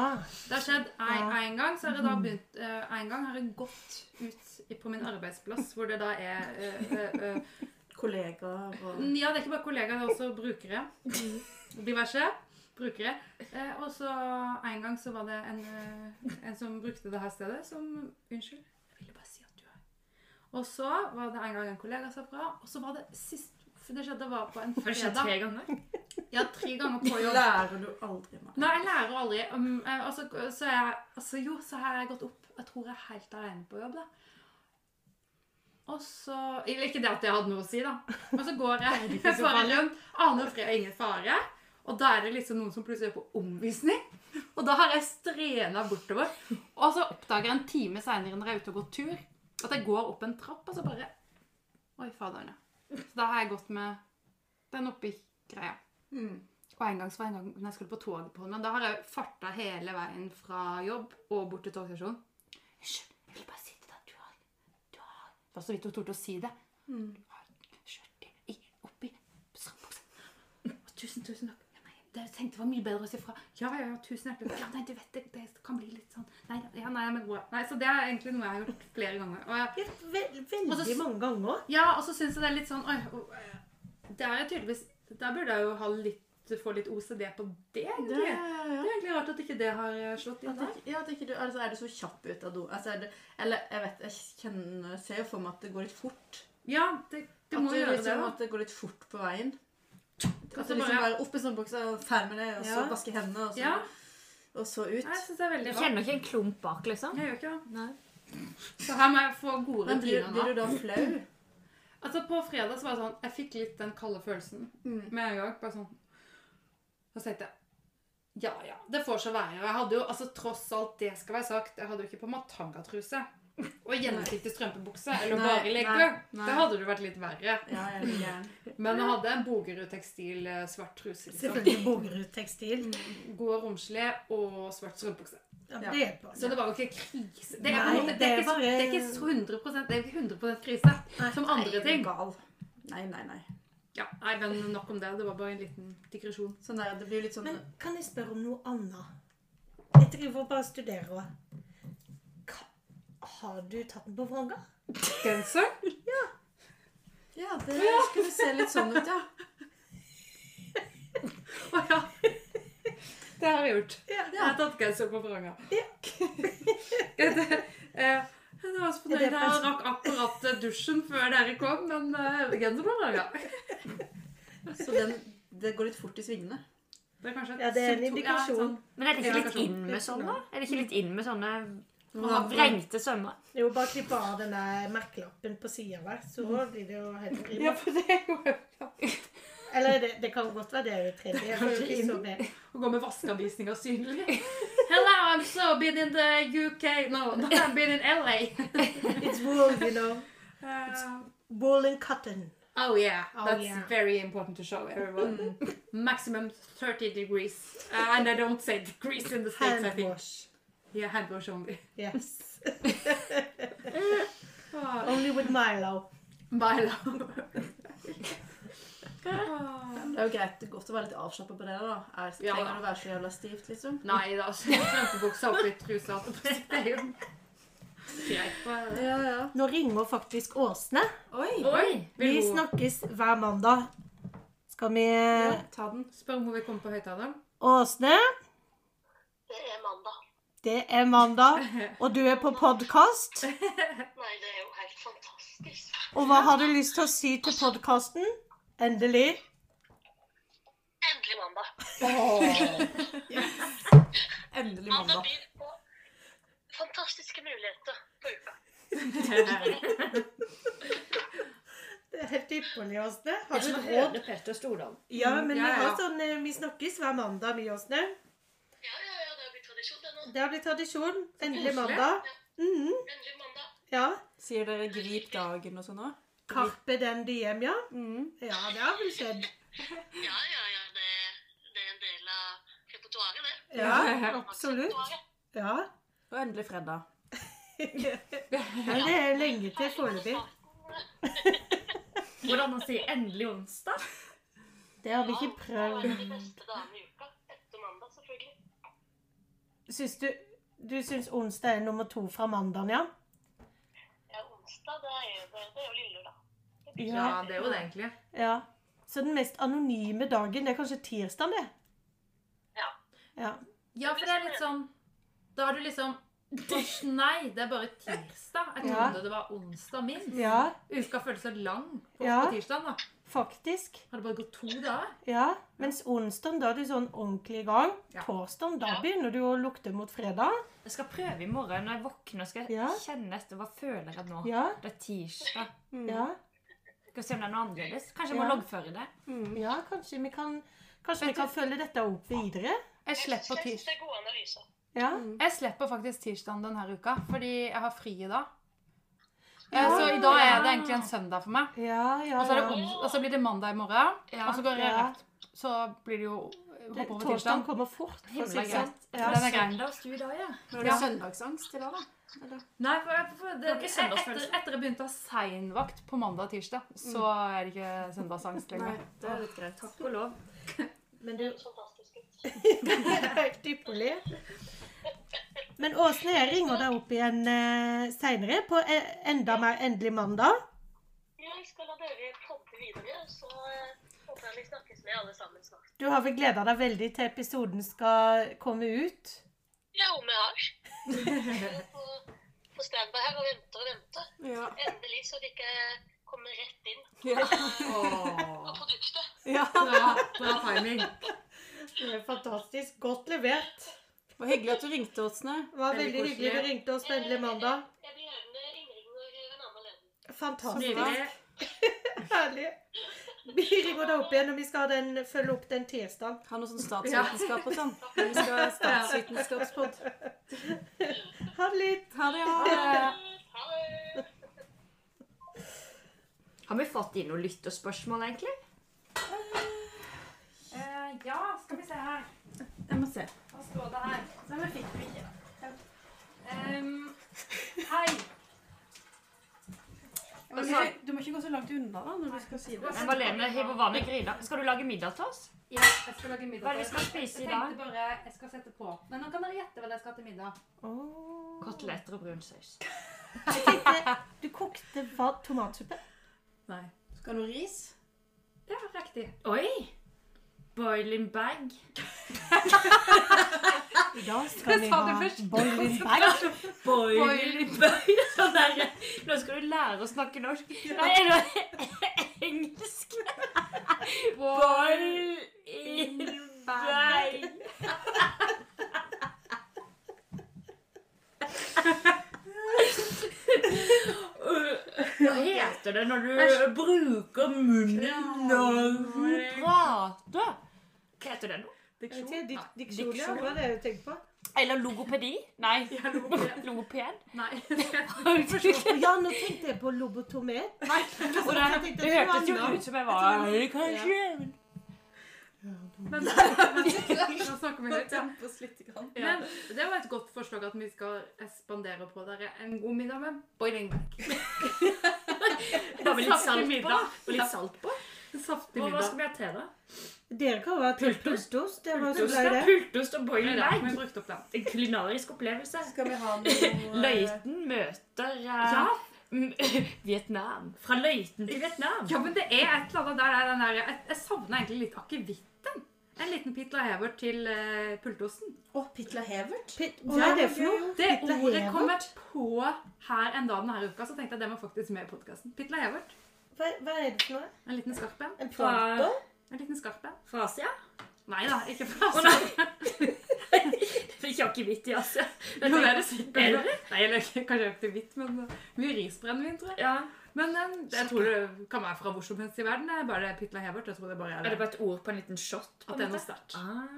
Speaker 1: det har skjedd en,
Speaker 4: Ja.
Speaker 1: en gang, så har jeg
Speaker 5: Mm-hmm.
Speaker 1: da begynt eh, En gang har jeg gått ut i- på min arbeidsplass, hvor det da er eh, eh, eh,
Speaker 3: du? Kollegaer og
Speaker 1: Ja, det er ikke bare kollegaer, det er også brukere.
Speaker 5: Mm-hmm.
Speaker 1: Diverse brukere. Eh, og så en gang så var det en, eh, en som brukte det her stedet, som Unnskyld, jeg ville bare si at du er Og så var det en gang en kollega sa fra, og så var det sist for Det skjedde var på en
Speaker 5: Har det skjedd
Speaker 1: fredag.
Speaker 5: tre ganger?
Speaker 1: Ja, tre ganger på jobb.
Speaker 3: Lærer du aldri, mann.
Speaker 1: Nei, jeg lærer aldri. Um, eh, altså, så er jeg, altså, jo, så har jeg gått opp. Jeg tror jeg er helt alene på jobb, da. Og så Eller ikke det at jeg hadde noe å si, da. Men så går *laughs* jeg bare rundt. Aner fred og ingen fare. Og da er det liksom noen som plutselig er på omvisning. Og da har jeg strena bortover. Og så oppdager jeg en time seinere når jeg er ute og går tur, at jeg går opp en trapp, og så bare Oi, faderne. Så da har jeg gått med den oppi greia. Og en gang så var det en gang når jeg skulle på toget på Holmen. Da har jeg farta hele veien fra jobb og bort til togstasjonen. Hysj, jeg vil bare si til deg at du har Du har Det var så vidt hun torde å si det. Du har skjørtet i- oppi strømpuksa. Å, Tusen, tusen takk. Ja, nei, det- Jeg tenkte det var mye bedre å si fra. Ja, ja, ja, tusen hjertelig takk. Ja, nei, du vet det, det kan bli litt sånn Nei, ja, nei, men bra. Nei, så det er egentlig noe jeg har gjort flere ganger. Og jeg,
Speaker 4: Ja, ve-
Speaker 1: Og så
Speaker 4: Veldig
Speaker 1: s-
Speaker 4: mange ganger.
Speaker 1: ja, og så syns jeg det er litt sånn Oi, å, eh, det er jo tydeligvis Der burde jeg jo ha litt få litt OCD på det, egentlig.
Speaker 3: Det, ja.
Speaker 1: Det er egentlig rart at ikke det har eh, slått inn
Speaker 3: At
Speaker 1: der.
Speaker 3: ikke, ja, at ikke du, altså er det så kjapp ut av do? Altså er det, eller jeg vet, jeg kjenner, ser jo for meg at det går litt fort.
Speaker 1: Ja, det, det må
Speaker 3: at, du,
Speaker 1: jo gjøre det.
Speaker 3: liksom,
Speaker 1: da.
Speaker 3: at det går litt fort på veien. At
Speaker 1: Altså
Speaker 3: du liksom
Speaker 1: bare-
Speaker 3: bare opp i sånn boks og ferdig med det, og så
Speaker 4: Ja.
Speaker 3: vaske hendene, og så,
Speaker 1: Ja,
Speaker 3: og så ut.
Speaker 1: jeg syns det er veldig
Speaker 5: Jeg
Speaker 1: rart.
Speaker 5: kjenner ikke en klump bak, liksom.
Speaker 1: Jeg gjør ikke det.
Speaker 5: Nei.
Speaker 1: Så her må jeg få gode
Speaker 3: Men blir,
Speaker 1: rutiner
Speaker 3: blir
Speaker 1: nå.
Speaker 3: du da flau?
Speaker 1: Altså På fredag så var det sånn Jeg fikk litt den kalde følelsen
Speaker 3: Mm.
Speaker 1: med en gang. Bare sånn Og så tenkte jeg Ja ja, det får så være. Og jeg hadde jo altså tross alt det skal være sagt, jeg hadde jo ikke på matangatruse. Og gjennomsiktig strømpebukse. Eller
Speaker 3: Nei,
Speaker 1: bare legge.
Speaker 3: nei, nei.
Speaker 1: Det hadde det vært litt verre.
Speaker 3: Ja, jeg blir gjerne.
Speaker 1: Men jeg hadde en Bogerud tekstil eh, svart truse. Liksom.
Speaker 4: Selvfølgelig Bogerud tekstil.
Speaker 1: God og romslig og svart strømpebukse.
Speaker 4: Mm. Ja,
Speaker 3: Ja.
Speaker 4: det er bra.
Speaker 1: Så det var jo ikke krise. Det er,
Speaker 4: Nei,
Speaker 1: på en måte, det
Speaker 4: det
Speaker 1: er, ikke,
Speaker 4: var-
Speaker 1: det er ikke så 100 det er ikke 100 krise som andre ting.
Speaker 3: Gal. Nei, nei, nei.
Speaker 1: Ja, nei, men Nok om det. Det var bare en liten digresjon.
Speaker 3: Sånn der, det blir litt sånn...
Speaker 4: Men kan jeg spørre om noe annet? Jeg driver og bare studerer. også. Ka- Har du tatt den på vranga?
Speaker 1: Genser?
Speaker 3: Ja, det skulle se litt sånn ut, ja.
Speaker 1: Å *laughs* ja. Det har jeg gjort.
Speaker 4: Ja.
Speaker 1: Jeg har tatt genser på vranga. *laughs* Det- eh, Jeg var så
Speaker 4: Er det
Speaker 1: fornøyd. Jeg rakk akkurat eh, dusjen før dere kom, men eh, genser på vranga
Speaker 3: Så den, det går litt fort i svingene.
Speaker 1: Det er kanskje et
Speaker 4: Ja, det er en
Speaker 1: symptom- ja,
Speaker 4: indikasjon.
Speaker 1: sånn-
Speaker 5: Men er det
Speaker 1: Ja,
Speaker 5: ikke litt
Speaker 1: kanskje.
Speaker 5: inn med sånne? Er det ikke litt inn med sånne
Speaker 3: Ja.
Speaker 5: vrengte sømmer?
Speaker 4: Jo, bare klipp av den der merkelappen på sida der, så blir det jo helt
Speaker 1: Ja,
Speaker 4: rimelig.
Speaker 1: for det er jo
Speaker 4: Eller det, det kan godt være det er jo tredje. Jeg får jo ikke så med.
Speaker 1: Å gå med vaskeanvisninger synlig. *laughs* Hello, I'm so been in the UK No, no I've been in LA.
Speaker 4: It's wool, you know.
Speaker 1: Uh,
Speaker 4: Wool and cotton.
Speaker 1: oh yeah,
Speaker 4: Oh,
Speaker 1: that's
Speaker 4: yeah.
Speaker 1: very important to show everyone. Maximum 30 degrees. Uh, and I don't say degrees in the States, I
Speaker 4: Hand
Speaker 1: think.
Speaker 4: wash.
Speaker 1: Yeah, hand wash only.
Speaker 4: Yes.
Speaker 1: Oh,
Speaker 4: Only with Milo.
Speaker 1: my love. Oh.
Speaker 3: Det er jo greit, det er godt å være litt avslappet på det da. Er,
Speaker 1: Ja,
Speaker 3: trenger
Speaker 1: da.
Speaker 3: det å være så jævla stivt, liksom?
Speaker 1: Nei da, strømpebuksa oppi trusa. Det er jo greit. bare-
Speaker 3: Ja, ja.
Speaker 4: Nå ringer faktisk Åsne.
Speaker 3: Oi!
Speaker 1: Oi!
Speaker 4: Vi
Speaker 1: Vil hun
Speaker 4: snakkes hver mandag. Skal vi
Speaker 3: Ja, ta den.
Speaker 1: spørre om hun vil komme på *laughs* høyttaleren?
Speaker 4: Åsne?
Speaker 8: Det er mandag.
Speaker 4: Det er mandag, og du er på podkast.
Speaker 8: Nei, det er jo helt fantastisk.
Speaker 4: Og hva har du lyst til å si til podkasten? Endelig.
Speaker 8: Endelig mandag.
Speaker 9: Endelig
Speaker 8: Mandag
Speaker 9: mandag.
Speaker 8: byr på fantastiske muligheter på uka.
Speaker 4: Det er helt ypperlig, Åsne. Har
Speaker 10: Jeg
Speaker 4: du
Speaker 10: som
Speaker 4: et råd?
Speaker 10: hører Petter Stordalen.
Speaker 4: Ja, men
Speaker 1: ja,
Speaker 4: vi har
Speaker 1: ja.
Speaker 4: sånn eh, Vi snakkes hver mandag, vi, Åsne.
Speaker 8: Ja, ja, ja, det har blitt tradisjon det nå.
Speaker 4: Det har blitt tradisjon. Endelig
Speaker 1: koselig.
Speaker 4: mandag. Mhm,
Speaker 8: Endelig mandag.
Speaker 4: ja.
Speaker 3: Sier dere 'grip dagen' og sånn òg?
Speaker 4: Carpe den diem, ja.
Speaker 3: Mm.
Speaker 4: Ja, det har vel skjedd.
Speaker 8: Ja, ja, ja, det, det er en del av repertoaret, det.
Speaker 4: Ja, absolutt. Ja.
Speaker 3: Og endelig fredag.
Speaker 4: Men det er lenge til foreløpig.
Speaker 10: Hvordan man sier 'endelig onsdag'?
Speaker 4: Det har vi
Speaker 8: Ja,
Speaker 4: ikke
Speaker 8: det er
Speaker 4: prøvd.
Speaker 8: en av de beste dagene i uka. Etter mandag, selvfølgelig.
Speaker 4: Syns du Du syns onsdag er nummer to fra mandagen, ja?
Speaker 8: Ja, onsdag, det er, jo- det, det er jo lille lørdag.
Speaker 1: Ja, det er jo det, egentlig.
Speaker 4: Ja. Så den mest anonyme dagen, det er kanskje tirsdagen, det?
Speaker 8: Ja.
Speaker 4: Ja.
Speaker 1: Ja, for det er litt sånn Da har du liksom «Åsj, Nei, det er bare tirsdag. Jeg
Speaker 4: Ja.
Speaker 1: trodde det var onsdag minst.
Speaker 4: ja.
Speaker 1: Uka føles så lang på,
Speaker 4: Ja.
Speaker 1: på tirsdag. da.
Speaker 4: Faktisk.
Speaker 1: Har det bare gått to dager?
Speaker 4: Ja. Mens onsdagen, da er du sånn ordentlig i gang.
Speaker 1: Ja.
Speaker 4: Torsdagen, da
Speaker 8: Ja.
Speaker 4: begynner du å lukte mot fredag.
Speaker 5: Jeg skal prøve i morgen når jeg våkner. skal jeg
Speaker 4: Ja.
Speaker 5: kjenne etter hva føler jeg nå.
Speaker 4: Ja.
Speaker 5: Det er tirsdag.
Speaker 4: Ja.
Speaker 5: Skal se om det er noe annerledes. Kanskje jeg
Speaker 4: Ja.
Speaker 5: må loggføre det.
Speaker 4: Ja, kanskje vi kan Kanskje vi kan følge dette opp videre?
Speaker 8: Jeg
Speaker 1: Jeg
Speaker 8: synes
Speaker 1: slipper,
Speaker 8: jeg synes
Speaker 1: tirs
Speaker 8: det er gode analyser.
Speaker 4: Ja.
Speaker 1: jeg slipper faktisk tirsdagen denne uka, fordi jeg har fri i dag. Eh,
Speaker 4: Ja.
Speaker 1: Så i dag er det egentlig en søndag for meg.
Speaker 4: Ja, ja,
Speaker 1: Og så, er det
Speaker 4: ja.
Speaker 1: ons og så blir det mandag i morgen. Og så går jeg
Speaker 4: Ja.
Speaker 1: rett Så blir det jo
Speaker 4: Det-
Speaker 1: hopper over
Speaker 4: Torsdagen
Speaker 1: tirsdagen.
Speaker 4: kommer fort. For å si
Speaker 5: Himla
Speaker 4: det
Speaker 5: greit.
Speaker 4: sånn. Ja.
Speaker 1: Den er grei.
Speaker 3: Har du
Speaker 1: Ja.
Speaker 3: søndagsangst i dag, da?
Speaker 1: Nei, for, jeg- for det,
Speaker 5: ikke altså.
Speaker 1: etter,
Speaker 5: søndagsfølelse.
Speaker 1: etter jeg begynte å ha seinvakt på mandag og tirsdag, så
Speaker 4: Mm.
Speaker 1: er det ikke søndagsangst lenger.
Speaker 3: det er litt greit.
Speaker 5: Takk og lov.
Speaker 4: Men du, *laughs*
Speaker 8: Det er Fantastisk.
Speaker 4: Helt ypperlig. Men Åsne, jeg ringer deg opp igjen eh, seinere, på eh, enda mer endelig mandag.
Speaker 8: Jeg skal la dere podde videre, så eh, håper jeg vi snakkes med alle sammen snart.
Speaker 4: Du har vel gleda deg veldig til episoden skal komme ut?
Speaker 8: Ja, om jeg
Speaker 3: *laughs*
Speaker 8: har. Jeg er på- På standby her og venter og venter.
Speaker 3: Ja.
Speaker 8: Endelig så de ikke kommer rett inn på
Speaker 1: *laughs*
Speaker 8: produktet.
Speaker 1: Bra, bra timing.
Speaker 4: Det er fantastisk. Godt levert.
Speaker 3: Det var hyggelig at du ringte, Åsne.
Speaker 4: Det var veldig,
Speaker 1: Veldig
Speaker 4: hyggelig du
Speaker 1: koselig.
Speaker 4: ringte oss på endelig mandag.
Speaker 8: Jeg blir gjerne innringer en annen anledning.
Speaker 4: Fantastisk.
Speaker 1: Nydelig.
Speaker 4: Herlig. Vi ringer deg opp igjen, og vi skal ha den, følge opp den tirsdagen.
Speaker 3: Har noe sånn statsvitenskap og
Speaker 1: *laughs*
Speaker 3: sånn. Vi skal ha statsvitenskapspod.
Speaker 4: Ha det litt.
Speaker 3: Ha det, ja.
Speaker 8: Ha det!
Speaker 5: Har vi fått inn noen lytterspørsmål, egentlig?
Speaker 1: Eh, ja, skal vi se her.
Speaker 3: Jeg må se.
Speaker 1: Hva står det her? Nei, men fikk vi ikke. Ehm, hei. Altså-
Speaker 3: Du må, ikke, du må ikke gå så langt unna da, når du skal si det.
Speaker 5: Men Malene hiver vann i gryta. Skal du lage middag til oss?
Speaker 1: Ja, jeg skal lage middag.
Speaker 5: Hva er det vi
Speaker 1: til dere.
Speaker 5: skal spise i
Speaker 1: Jeg
Speaker 5: dag?
Speaker 1: tenkte bare jeg skal sette på. Men nå kan dere gjette hva jeg skal ha til middag.
Speaker 4: Åh.
Speaker 5: Koteletter og brun saus.
Speaker 4: Du kokte hva? Tomatsuppe?
Speaker 3: Nei. Skal du ha noe ris?
Speaker 1: Ja, riktig.
Speaker 5: Oi! Boiling bag.
Speaker 4: I dag skal vi
Speaker 1: sa du
Speaker 4: ha
Speaker 1: først.
Speaker 4: boiling bag.
Speaker 5: Boiling bag. *laughs* Sånn der. Nå skal du lære å snakke norsk. Nei, er det *laughs* engelsk? Boiling bag. Hva heter det når du bruker munnen når du prater? Hva heter det nå?
Speaker 4: Diksjon, ja. Diksjon, ja. Hva er det du tenker på?
Speaker 5: Eller logopedi? Nei. *laughs* Logoped?
Speaker 1: Nei.
Speaker 5: *laughs*
Speaker 4: Å ja, nå tenkte jeg på lobotomé.
Speaker 5: Nei. Og det, det hørtes jo ut som jeg var Kanskje.
Speaker 1: Men, *laughs* nå snakker vi høyt. ja.
Speaker 3: oss litt. Grann.
Speaker 1: Men det var et godt forslag at vi skal ekspandere på dere en god middag med boiling bag.
Speaker 5: Da med litt salt på.
Speaker 1: middag.
Speaker 5: Og litt salt på.
Speaker 1: En saftig
Speaker 5: Og hva
Speaker 1: middag.
Speaker 5: skal vi ha til, da?
Speaker 4: Dere kan jo ha pultost. Dere var jo så glad i det.
Speaker 5: Pultost og boiling
Speaker 1: Nei,
Speaker 5: bag.
Speaker 1: vi brukte opp den.
Speaker 5: En kulinarisk opplevelse.
Speaker 3: Skal
Speaker 5: *laughs*
Speaker 3: vi ha noe
Speaker 5: Løiten møter eh,
Speaker 1: eh, Ja.
Speaker 5: m- *laughs* Vietnam. Fra Løiten til Vietnam.
Speaker 1: Ja, men det er et eller annet der. det er Den der jeg, jeg savner egentlig litt akevitten. En liten Pitla Hever til uh, pultosten.
Speaker 3: Å, Pitla Hevert?
Speaker 4: Pit- Hva er det for noe?
Speaker 1: Det
Speaker 4: Pitla
Speaker 1: ordet
Speaker 4: Hevert?
Speaker 1: kom jeg på her en dag denne uka, så tenkte jeg det må faktisk med i podkasten. Pitla Hevert.
Speaker 4: Hva, hva er det for noe?
Speaker 1: En liten skarpen.
Speaker 4: En planter?
Speaker 1: En liten skarpen.
Speaker 5: Fra Asia?
Speaker 1: Nei da, ikke fra
Speaker 5: Å,
Speaker 1: Asia.
Speaker 5: nei! Fikk akevitt i Asia.
Speaker 1: *laughs* Jo, det er det
Speaker 5: altså.
Speaker 1: sikkert.
Speaker 5: Er det
Speaker 1: Nei, eller ikke- kanskje ikke hvitt, men eh, mye risbrennevin, tror jeg.
Speaker 5: Ja.
Speaker 1: Men eh, jeg tror det kan være fra hvor som helst i verden. Det er bare pytla hebert. Jeg tror det bare er
Speaker 5: Er det
Speaker 1: det.
Speaker 5: bare et ord på en liten shot? på
Speaker 1: At det
Speaker 5: en
Speaker 1: er noe
Speaker 5: måte?
Speaker 1: sterkt.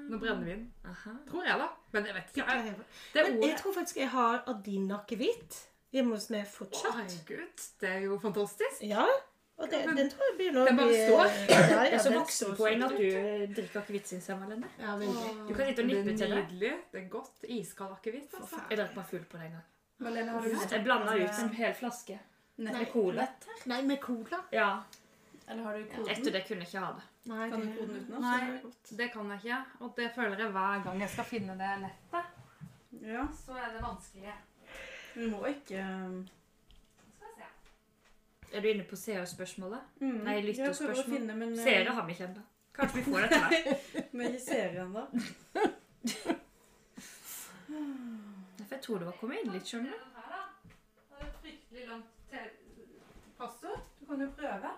Speaker 1: Noe
Speaker 5: Ah,
Speaker 1: brennevin.
Speaker 5: aha.
Speaker 1: Tror jeg, da. Men jeg vet ikke. Jeg- Det er
Speaker 4: Men jeg
Speaker 1: ordet.
Speaker 4: tror faktisk jeg har adinakevitt hjemme hos meg fortsatt.
Speaker 1: Herregud, det er jo fantastisk.
Speaker 4: Ja, og det,
Speaker 1: men
Speaker 4: den tror jeg begynner å
Speaker 1: den bare står.
Speaker 4: Ja,
Speaker 5: Det
Speaker 4: ja,
Speaker 5: er så
Speaker 4: den står
Speaker 5: voksenpoeng at du eh, drikker akevitt, syns jeg, Malene.
Speaker 4: Ja, veldig.
Speaker 5: Du kan sitte og nippe
Speaker 1: Det
Speaker 5: til
Speaker 1: er
Speaker 5: det.
Speaker 1: nydelig. Det er godt. Iskald akevitt. Altså.
Speaker 5: Jeg drakk meg full på det en gang.
Speaker 3: Malene, har du lyst
Speaker 5: Jeg blanda ut en hel flaske
Speaker 3: Nei.
Speaker 5: med cola.
Speaker 4: Nei, med cola?
Speaker 5: Ja,
Speaker 3: Eller har du koden?
Speaker 5: Etter det kunne jeg ikke ha det.
Speaker 4: Nei,
Speaker 3: Kan du koden utenat?
Speaker 1: Nei.
Speaker 3: så er det godt.
Speaker 1: Det kan jeg ikke. Og det føler jeg hver gang jeg skal finne det nettet.
Speaker 3: Ja.
Speaker 1: Så er det vanskelig.
Speaker 3: Vi må ikke um,
Speaker 1: Skal vi se.
Speaker 5: Er du inne på seerspørsmålet?
Speaker 3: mm,
Speaker 5: Nei,
Speaker 3: jeg prøver å
Speaker 5: lytterspørsmål.
Speaker 3: finne, men, uh,
Speaker 5: Seere har vi ikke ennå. Kanskje vi får det etter hvert.
Speaker 3: Men ikke seere ennå.
Speaker 5: For jeg tror det var kommet inn litt, skjønner du.
Speaker 1: *laughs* Den her, da. Det er et fryktelig langt te- passord. Du kan jo prøve.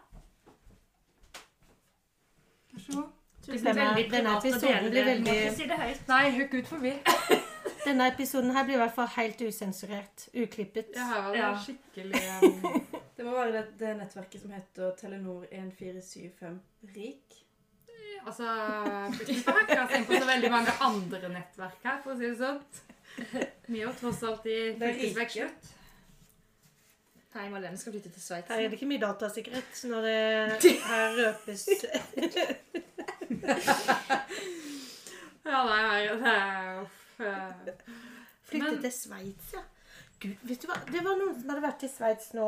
Speaker 1: Vær så god.
Speaker 5: Det
Speaker 4: Denne-
Speaker 5: blir veldig
Speaker 4: denne
Speaker 5: privat å
Speaker 4: episoden
Speaker 5: dele
Speaker 4: blir
Speaker 5: det. Du må
Speaker 4: veldig-
Speaker 5: ikke si det høyt.
Speaker 1: Nei, hukk ut forbi.
Speaker 4: Denne episoden her blir i hvert fall helt usensurert. Uklippet.
Speaker 1: Ja, her var det
Speaker 5: Ja.
Speaker 1: skikkelig um,
Speaker 3: Det må være det, det nettverket som heter Telenor 1475 RIK.
Speaker 1: Altså, Flyttepark har jeg tenkt på så veldig mange andre nettverk her, for å si det sånn. Vi er jo tross alt i
Speaker 3: Det er
Speaker 1: fylkesvekk slutt.
Speaker 5: Nei, Malene skal flytte til Sveits.
Speaker 4: Her er det ikke mye datasikkerhet når *laughs* det her røpes
Speaker 1: Ja, nei, nei, det er uff. eh,
Speaker 4: Flytte
Speaker 1: Men-
Speaker 4: til Sveits, ja. Gud, vet du hva? Det var noen som hadde vært i Sveits nå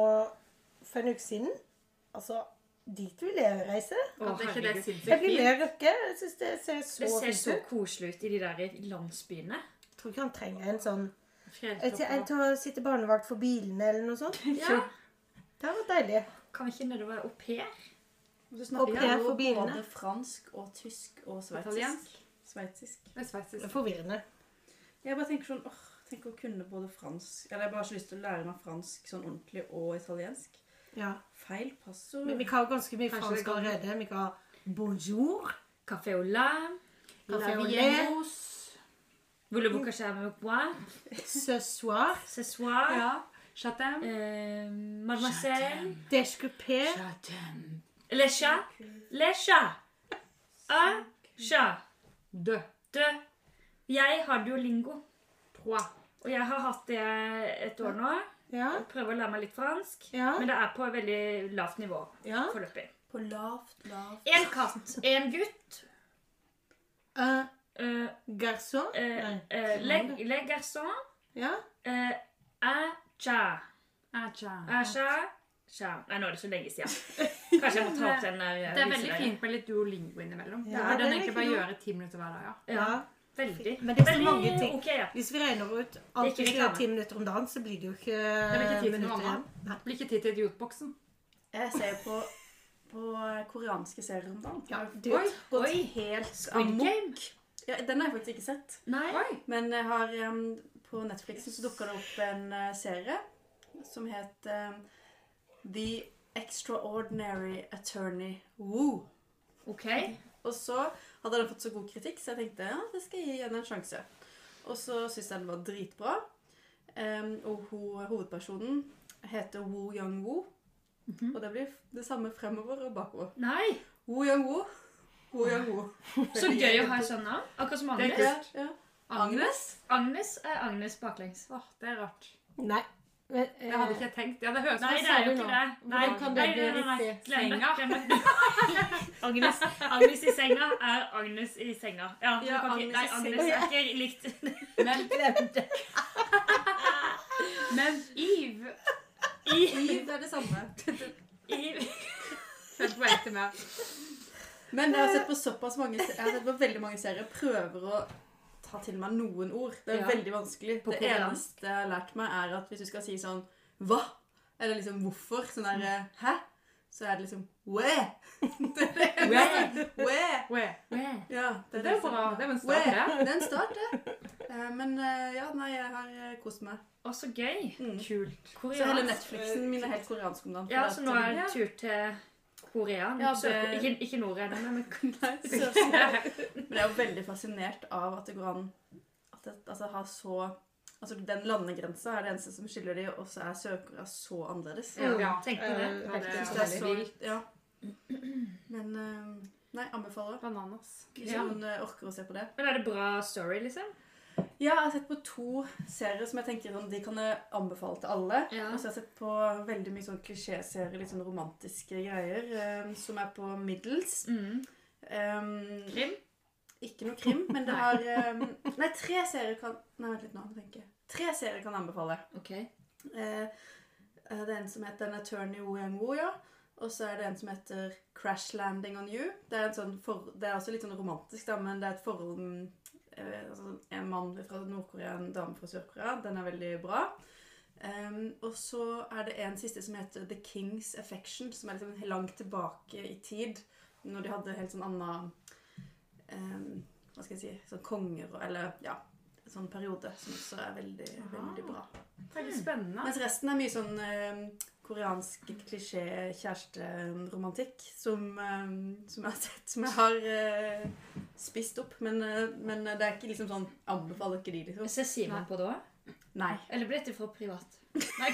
Speaker 4: for en uke siden. Altså, dit vil jeg reise.
Speaker 1: At det ikke det er
Speaker 4: Jeg blir
Speaker 1: sinnssykt fint.
Speaker 4: med Røkke. Jeg syns det ser så
Speaker 5: Det ser
Speaker 4: fint
Speaker 5: så
Speaker 4: ut.
Speaker 5: koselig ut i de der landsbyene.
Speaker 4: Jeg tror ikke han trenger en sånn Jeg tror- jeg
Speaker 1: Fjelltopper.
Speaker 4: tror å sitte barnevakt for bilene eller noe sånt.
Speaker 5: Ja.
Speaker 4: Det hadde vært *laughs* deilig.
Speaker 5: Kan ikke nedover au pair?
Speaker 3: Du
Speaker 4: Og det er
Speaker 3: jo
Speaker 4: forbi henne.
Speaker 3: både fransk og tysk og sveitsisk.
Speaker 1: Italiensk.
Speaker 3: Sveitsisk.
Speaker 1: Det er sveitsisk.
Speaker 4: Forvirrende.
Speaker 3: Jeg bare tenker sånn åh, tenk å kunne både fransk Eller jeg bare har så lyst til å lære meg fransk sånn ordentlig og italiensk.
Speaker 4: Ja.
Speaker 3: Feil passord.
Speaker 4: Men vi har ganske mye
Speaker 1: Kanskje det
Speaker 4: fransk
Speaker 1: går-
Speaker 4: allerede. Vi har bonjour,
Speaker 5: Café au lait.
Speaker 4: café au lait,
Speaker 5: Lavieros. Voulez-vous que j'aime au bois?
Speaker 4: ce soir,
Speaker 5: Ce soir.
Speaker 1: Ja. Chatham.
Speaker 5: Eh, mademoiselle.
Speaker 4: descoupé,
Speaker 5: Les chats. Les chats. Un Ah, chat.
Speaker 1: Dø.
Speaker 5: Du, jeg har duolingo.
Speaker 1: Trois.
Speaker 5: Og jeg har hatt det et år nå.
Speaker 4: ja,
Speaker 5: Prøver å lære meg litt fransk.
Speaker 4: Ja.
Speaker 5: Men det er på et veldig lavt nivå
Speaker 4: ja,
Speaker 5: foreløpig.
Speaker 3: På lavt, lavt
Speaker 5: Én katt, én gutt.
Speaker 4: un
Speaker 5: Uh,
Speaker 4: Euh, garçon,
Speaker 5: uh,
Speaker 4: Nei.
Speaker 5: le garçon.
Speaker 4: ja,
Speaker 5: Uh, un chat. Ah,
Speaker 1: Acha.
Speaker 5: Un chat. chat. Nei, nå er det så lenge siden. Kanskje jeg må ta opp den der. eh,
Speaker 1: Det er veldig
Speaker 5: viseveien.
Speaker 1: fint med litt duolingo innimellom.
Speaker 4: Ja,
Speaker 1: Ja, det
Speaker 4: det er
Speaker 1: er egentlig bare
Speaker 4: fint.
Speaker 1: gjøre ti minutter hver dag, ja.
Speaker 5: Ja,
Speaker 4: ja.
Speaker 5: veldig.
Speaker 4: Men det er så
Speaker 5: veldig
Speaker 4: mange ting.
Speaker 5: ok, ja.
Speaker 4: Hvis vi regner ut alt
Speaker 5: ikke
Speaker 4: vi skal gjøre
Speaker 5: reklame.
Speaker 4: ti minutter om dagen, så blir det jo ikke
Speaker 1: blir ikke tid til noe
Speaker 4: minutter igjen.
Speaker 1: annet.
Speaker 4: Nei.
Speaker 1: Blir ikke tid til idiotboksen.
Speaker 3: Jeg ser på, på koreanske serier om dagen.
Speaker 4: Ja,
Speaker 3: Jeg
Speaker 4: du,
Speaker 3: har gått
Speaker 5: oi.
Speaker 3: helt
Speaker 5: Squid
Speaker 3: amok.
Speaker 5: Game.
Speaker 3: Ja, den har jeg faktisk ikke sett.
Speaker 5: Nei.
Speaker 1: Oi!
Speaker 3: Men jeg har, em, på Netflix så dukka det opp en eh, serie som het em, The Extraordinary Attorney Woo.
Speaker 5: Ok.
Speaker 3: Og så hadde den fått så god kritikk, så jeg tenkte ja, det skal jeg gi henne en sjanse. Og så syntes jeg den var dritbra. Em, og ho, hovedpersonen heter Woo Young-woo.
Speaker 5: Mhm.
Speaker 3: Og det blir det samme fremover og bakover.
Speaker 5: Nei.
Speaker 3: Woo Young-woo. Woo Young-woo.
Speaker 5: *laughs* Så gøy å ha et sånt navn. Akkurat som
Speaker 1: Det er
Speaker 5: Agnes.
Speaker 3: Ja, ja.
Speaker 1: Agnes?
Speaker 5: Agnes er Agnes baklengs.
Speaker 1: Åh, det er rart.
Speaker 4: Nei. Men, eh,
Speaker 1: Det hadde ikke jeg tenkt. Ja, det høres
Speaker 5: Nei,
Speaker 1: ut
Speaker 5: det er jo
Speaker 4: du
Speaker 5: ikke
Speaker 4: nå?
Speaker 5: det. Nei,
Speaker 4: Hvordan kan
Speaker 5: nei,
Speaker 4: det bli
Speaker 5: nei, nei, nei.
Speaker 4: riktig?
Speaker 5: Glem det,
Speaker 1: Senga.
Speaker 5: glem det. *laughs* Agnes, Agnes i senga er Agnes i senga. Ja, du
Speaker 3: Ja,
Speaker 5: kan ikke- nei,
Speaker 3: Agnes i
Speaker 5: Agnes er ikke likt.
Speaker 3: *laughs*
Speaker 1: Men, men Eve
Speaker 5: I,
Speaker 3: Liv er det samme.
Speaker 5: i,
Speaker 1: Følg på etter meg.
Speaker 3: *laughs* Men jeg
Speaker 5: Eh.
Speaker 3: har sett på såpass mange se- Jeg har sett på veldig mange serier. Prøver å ta til meg noen ord. Det er
Speaker 5: Ja.
Speaker 3: veldig vanskelig.
Speaker 5: På
Speaker 3: det
Speaker 5: koreansk.
Speaker 3: eneste jeg har lært meg, er at hvis du skal si sånn Hva? Eller liksom hvorfor? Sånn der
Speaker 5: Mm.
Speaker 3: eh, Hæ? Så er det liksom Wæ! Det er det eneste. Wæ!
Speaker 1: Ue.
Speaker 3: Ja,
Speaker 1: Det er jo bra. Det er jo en start, det.
Speaker 3: Det er en start, det. Eh, Men eh, ja, nei, jeg har eh, kost meg.
Speaker 5: Å, så gøy.
Speaker 3: Mm.
Speaker 5: Kult.
Speaker 3: Så hele
Speaker 5: Koreansk.
Speaker 3: Netflixen min er helt koreansk om dagen.
Speaker 5: Ja,
Speaker 3: fordi
Speaker 5: så
Speaker 3: at-
Speaker 5: nå *laughs* er det tur til Korea.
Speaker 3: Ja,
Speaker 5: Sør-
Speaker 3: det-
Speaker 5: Ikke, ikke Nord-Enda, men *laughs*
Speaker 3: Nei, så- Men jeg er jo veldig fascinert av at det går an at det altså, har så Altså, den landegrensa er det eneste som skiller de, og så er søkere så annerledes.
Speaker 1: Ja, ja.
Speaker 5: tenkte
Speaker 4: Eh,
Speaker 5: det.
Speaker 1: Ja, det
Speaker 3: Jeg synes
Speaker 1: er
Speaker 3: det er
Speaker 1: veldig
Speaker 3: så
Speaker 1: vilt.
Speaker 3: Ja. Men eh, Nei, anbefaler.
Speaker 1: Bananas.
Speaker 3: Hvis noen eh, orker å se på det.
Speaker 5: Men er det bra story, liksom?
Speaker 3: Ja, jeg har sett på to serier som jeg tenker sånn, de kan jeg anbefale til alle.
Speaker 5: Ja.
Speaker 3: Og så har jeg sett på veldig mye sånn klisjéserier, litt sånn romantiske greier, eh, som er på middels. Um,
Speaker 5: Krim?
Speaker 3: Ikke noe krim, men det har um, Nei, tre serier kan Nei, vent litt nå. må jeg tenke. Tre serier kan jeg anbefale.
Speaker 5: Ok.
Speaker 3: Eh, eh, det er en som heter An Attorney Woo Young Woo, ja. Og så er det en som heter Crash Landing on You. Det er, en sånn for, det er også litt sånn romantisk, da, men det er et forhold mm, eh, altså, En mann fra Nord-Korea, en dame fra Sør-Korea. Den er veldig bra. Ehm, og så er det en siste som heter The King's Affection, som er liksom langt tilbake i tid. Når de hadde helt sånn anna ehm, Hva skal jeg si Sånn konger og Eller ja, sånn periode, som også er veldig, veldig bra.
Speaker 5: Veldig spennende.
Speaker 3: Mens resten er mye sånn eh, koreansk klisjé-kjæresteromantikk som, eh, som jeg har sett, som jeg har eh, spist opp. Men, eh, men det er ikke liksom sånn Anbefaler ikke de, liksom.
Speaker 5: Ser Simon på det òg?
Speaker 3: Nei.
Speaker 5: Eller blir dette for
Speaker 1: *laughs*
Speaker 5: privat?
Speaker 3: Nei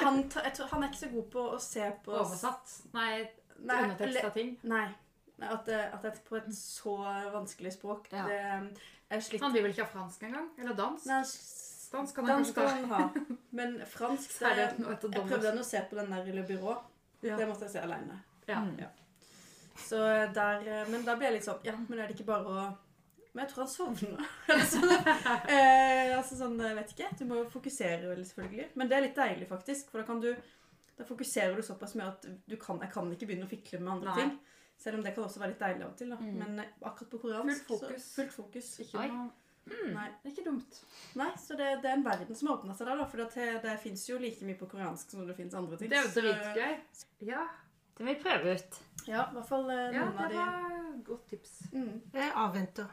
Speaker 3: han, ta, jeg tror, han er ikke så god på å se på
Speaker 1: *laughs* Oversatt. Nei,
Speaker 3: Nei,
Speaker 1: underteksta ting.
Speaker 3: eller- Nei. Nei, At det, at det er på et så vanskelig språk
Speaker 1: Ja.
Speaker 3: det, Jeg sliter
Speaker 1: Han vil vel ikke ha fransk engang? Eller dansk?
Speaker 3: Nei,
Speaker 1: Dansk kan han
Speaker 3: Dansk
Speaker 1: kanskje ta.
Speaker 3: skal han ha.
Speaker 1: *laughs*
Speaker 3: Men fransk
Speaker 1: Er det
Speaker 3: det,
Speaker 1: noe etter
Speaker 3: Jeg
Speaker 1: Donald?
Speaker 3: prøvde å se på den der Lille Byrå.
Speaker 1: Ja.
Speaker 3: Det måtte jeg se aleine.
Speaker 1: Ja.
Speaker 3: Så der, men da ble jeg litt sånn Ja, men er det ikke bare å Men jeg tror han sovna. *laughs* Eller sånn. eh, altså sånn, jeg vet ikke. Du må jo fokusere vel, selvfølgelig. Men det er litt deilig, faktisk. For da kan du Da fokuserer du såpass mye at du kan, jeg kan ikke begynne å fikle med andre
Speaker 1: Nei. Mm.
Speaker 3: ting. Selv om det kan også være litt deilig av og til. Da. Men eh, akkurat på koreansk
Speaker 1: Fullt
Speaker 3: så-
Speaker 1: fokus.
Speaker 3: fullt fokus. Ikke
Speaker 1: Oi. Mm.
Speaker 3: noe Nei.
Speaker 1: Det er ikke dumt.
Speaker 3: Nei, så det, det er en verden som har åpna seg der, da. For det, det fins jo like mye på koreansk som det fins andre ting.
Speaker 1: Det er jo
Speaker 3: Så-
Speaker 1: dritgøy. Ja,
Speaker 11: Det må vi prøve ut.
Speaker 3: Ja, i hvert fall eh,
Speaker 1: ja
Speaker 3: noen
Speaker 1: det
Speaker 3: av de.
Speaker 1: var godt tips.
Speaker 3: Mm.
Speaker 4: Jeg avventer.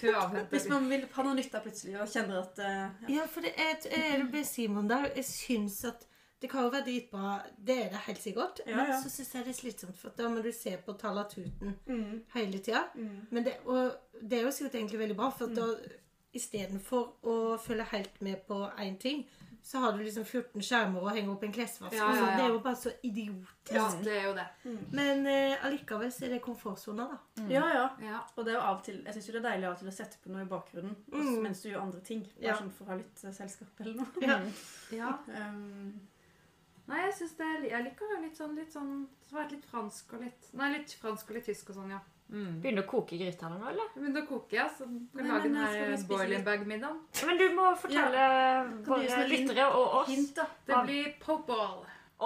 Speaker 1: Til å avhente
Speaker 3: Hvis man vil ha noe nytte av plutselig og kjenner at eh,
Speaker 4: Ja, for det er, jeg er med Simon der. Jeg syns at det kan jo være dritbra. Det er det helt sikkert.
Speaker 3: Ja,
Speaker 4: Men
Speaker 3: ja.
Speaker 4: så syns jeg det er slitsomt, for da må du se på Talatuten
Speaker 3: mm,
Speaker 4: hele tida.
Speaker 3: mm.
Speaker 4: Men det, og det er jo sikkert egentlig veldig bra, for at da istedenfor å følge helt med på én ting, så har du liksom 14 skjermer og henger opp en klesvask.
Speaker 1: Ja,
Speaker 4: og sånn.
Speaker 1: ja, ja.
Speaker 4: Det er jo bare så idiotisk.
Speaker 1: Ja, det er jo det.
Speaker 4: Men eh, allikevel så er det komfortsona, da.
Speaker 3: ja, ja.
Speaker 1: Ja.
Speaker 3: Og det er jo av og til, jeg syns jo det er deilig av og til å sette på noe i bakgrunnen også,
Speaker 4: Mm.
Speaker 3: mens du gjør andre ting. Bare
Speaker 4: Ja.
Speaker 3: sånn for å ha litt eh, selskap eller *laughs* noe.
Speaker 4: Ja.
Speaker 1: ja.
Speaker 3: Um,
Speaker 1: Nei, jeg synes det er, jeg liker jo litt sånn, litt sånn Det har vært litt fransk og litt Nei, litt fransk og litt tysk og sånn, ja.
Speaker 11: Begynne å koke gryta nå, eller?
Speaker 1: Men da koker jeg, så kan
Speaker 3: Nei,
Speaker 1: jeg lage
Speaker 3: men
Speaker 1: den
Speaker 3: da skal vi
Speaker 1: her
Speaker 3: spise
Speaker 1: boiling
Speaker 3: litt.
Speaker 1: bag-middagen.
Speaker 11: Men du må fortelle
Speaker 3: Kan du gi oss
Speaker 11: våre
Speaker 3: noen hint?
Speaker 11: lyttere og oss.
Speaker 3: hint, da.
Speaker 1: Det
Speaker 11: Ja.
Speaker 1: blir popball.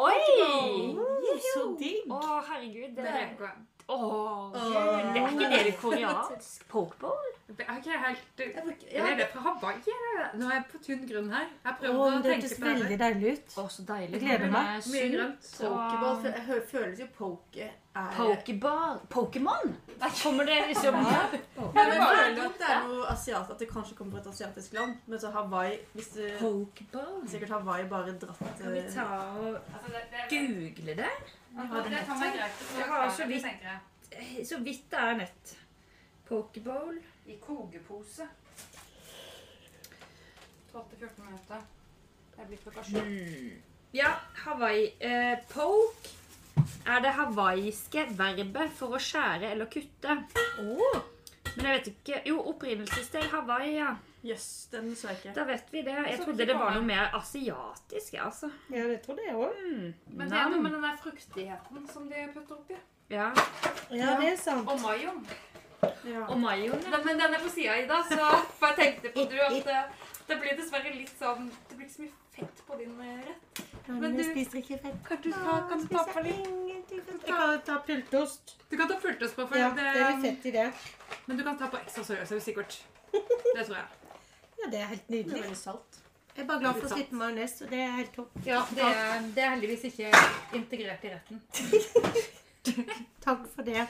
Speaker 11: Oi!
Speaker 4: Så digg.
Speaker 11: Å, herregud. Det,
Speaker 1: Det
Speaker 11: er-
Speaker 1: liker jeg.
Speaker 11: Å, gud. Det er ikke det det koreansk pokeball?
Speaker 1: Det er ikke helt
Speaker 3: Jeg bruker,
Speaker 1: Eller
Speaker 3: ja,
Speaker 1: er det fra Hawaii? eller? Nå er jeg på tynn grunn her. Jeg
Speaker 4: Å,
Speaker 1: prøver å
Speaker 4: men det
Speaker 1: tenke
Speaker 4: hørtes
Speaker 1: på det.
Speaker 4: veldig deilig ut.
Speaker 11: Å, så deilig.
Speaker 4: Jeg gleder meg.
Speaker 11: Det er
Speaker 1: Mye
Speaker 11: sunt.
Speaker 1: grønt.
Speaker 3: pokeball fø- jeg hø- føles jo poke er
Speaker 11: Pokeball? Pokémon? Der kommer det liksom
Speaker 3: Men jeg føler at det er noe asiat, at det kanskje kommer fra et asiatisk land. Men så Hawaii Hvis du
Speaker 11: Pokeball?
Speaker 3: sikkert Hawaii bare dratt
Speaker 5: Kan vi
Speaker 3: eh,
Speaker 5: ta og
Speaker 1: Altså, det, det, det,
Speaker 11: Google det?
Speaker 1: det kan være greit.
Speaker 5: Jeg har så vidt- Så vidt det er nett. Pokeball.
Speaker 1: I kokepose. 12-14 minutter. Jeg blir klokka sju.
Speaker 5: Mm. Ja, Hawaii. Eh, poke er det hawaiiske verbet for å skjære eller kutte. Oh. Men jeg vet ikke Jo, opprinnelsessted Hawaii, ja.
Speaker 3: Jøss, den så jeg ikke.
Speaker 5: Da vet vi det. Jeg
Speaker 1: Så
Speaker 5: trodde
Speaker 1: vi
Speaker 5: det var
Speaker 1: bare-
Speaker 5: noe mer asiatisk, jeg, altså.
Speaker 4: Ja, det tror jeg òg.
Speaker 1: Men det er noe
Speaker 5: Nam.
Speaker 1: med den der fruktigheten som de putter oppi.
Speaker 5: Ja.
Speaker 4: Ja, det er sant.
Speaker 1: Og mayoen.
Speaker 3: Ja.
Speaker 5: Og mayoen, ja.
Speaker 1: Nei, men den er på sida, Ida, så for jeg tenkte på du at eh, det blir dessverre litt sånn Det blir ikke så mye fett på din eh, rett.
Speaker 4: Men,
Speaker 1: Men
Speaker 4: du
Speaker 1: du-
Speaker 4: spiser ikke fett.
Speaker 1: Kan du ta, kan du ta på litt?
Speaker 4: Jeg kan ta pultost.
Speaker 1: Du kan ta pultost på, for
Speaker 4: Ja,
Speaker 1: det,
Speaker 4: det er litt fett i det.
Speaker 1: men du kan ta på ekstra soyasaus, sikkert. Det tror jeg.
Speaker 4: Ja, det er helt
Speaker 3: Det
Speaker 4: nydelig.
Speaker 3: er veldig salt.
Speaker 4: Jeg er bare glad for å slippe majones, og det er helt topp.
Speaker 1: *laughs* Ja, det er, heldigvis ikke integrert i retten.
Speaker 4: Takk for det.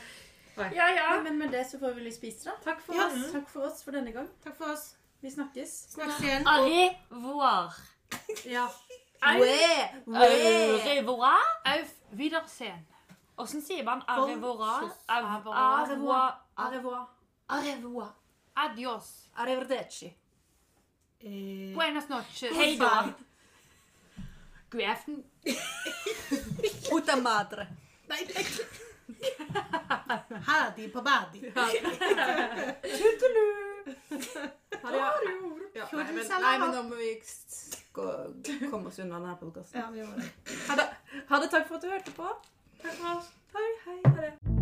Speaker 12: Ja, ja.
Speaker 7: Ja, men med det så får vi vel spise, da.
Speaker 1: Takk for
Speaker 7: Ja,
Speaker 1: oss.
Speaker 7: Takk for oss for denne gang.
Speaker 4: Takk for oss.
Speaker 7: Vi snakkes.
Speaker 4: Snakkes igjen.
Speaker 5: Allez voir.
Speaker 7: Ja.
Speaker 5: Au revoir. Au wiedersehen. Åssen sier man au revoir? Au au revoir.
Speaker 7: Au revoir.
Speaker 5: Au revoir. Adios.
Speaker 7: Arrivederci.
Speaker 4: Eh,
Speaker 1: Buenas noches.
Speaker 5: Hei da. God aften.
Speaker 7: Puta madre.
Speaker 4: Hadi på badi. *laughs*
Speaker 7: Ha det. Ja, nei, men, nei, men nå må vi s- gå, komme oss unna denne podkasten.
Speaker 4: Ja, vi gjorde det.
Speaker 7: Ha det. Takk for at du hørte på. Takk for oss. Hei, hei. Ha det.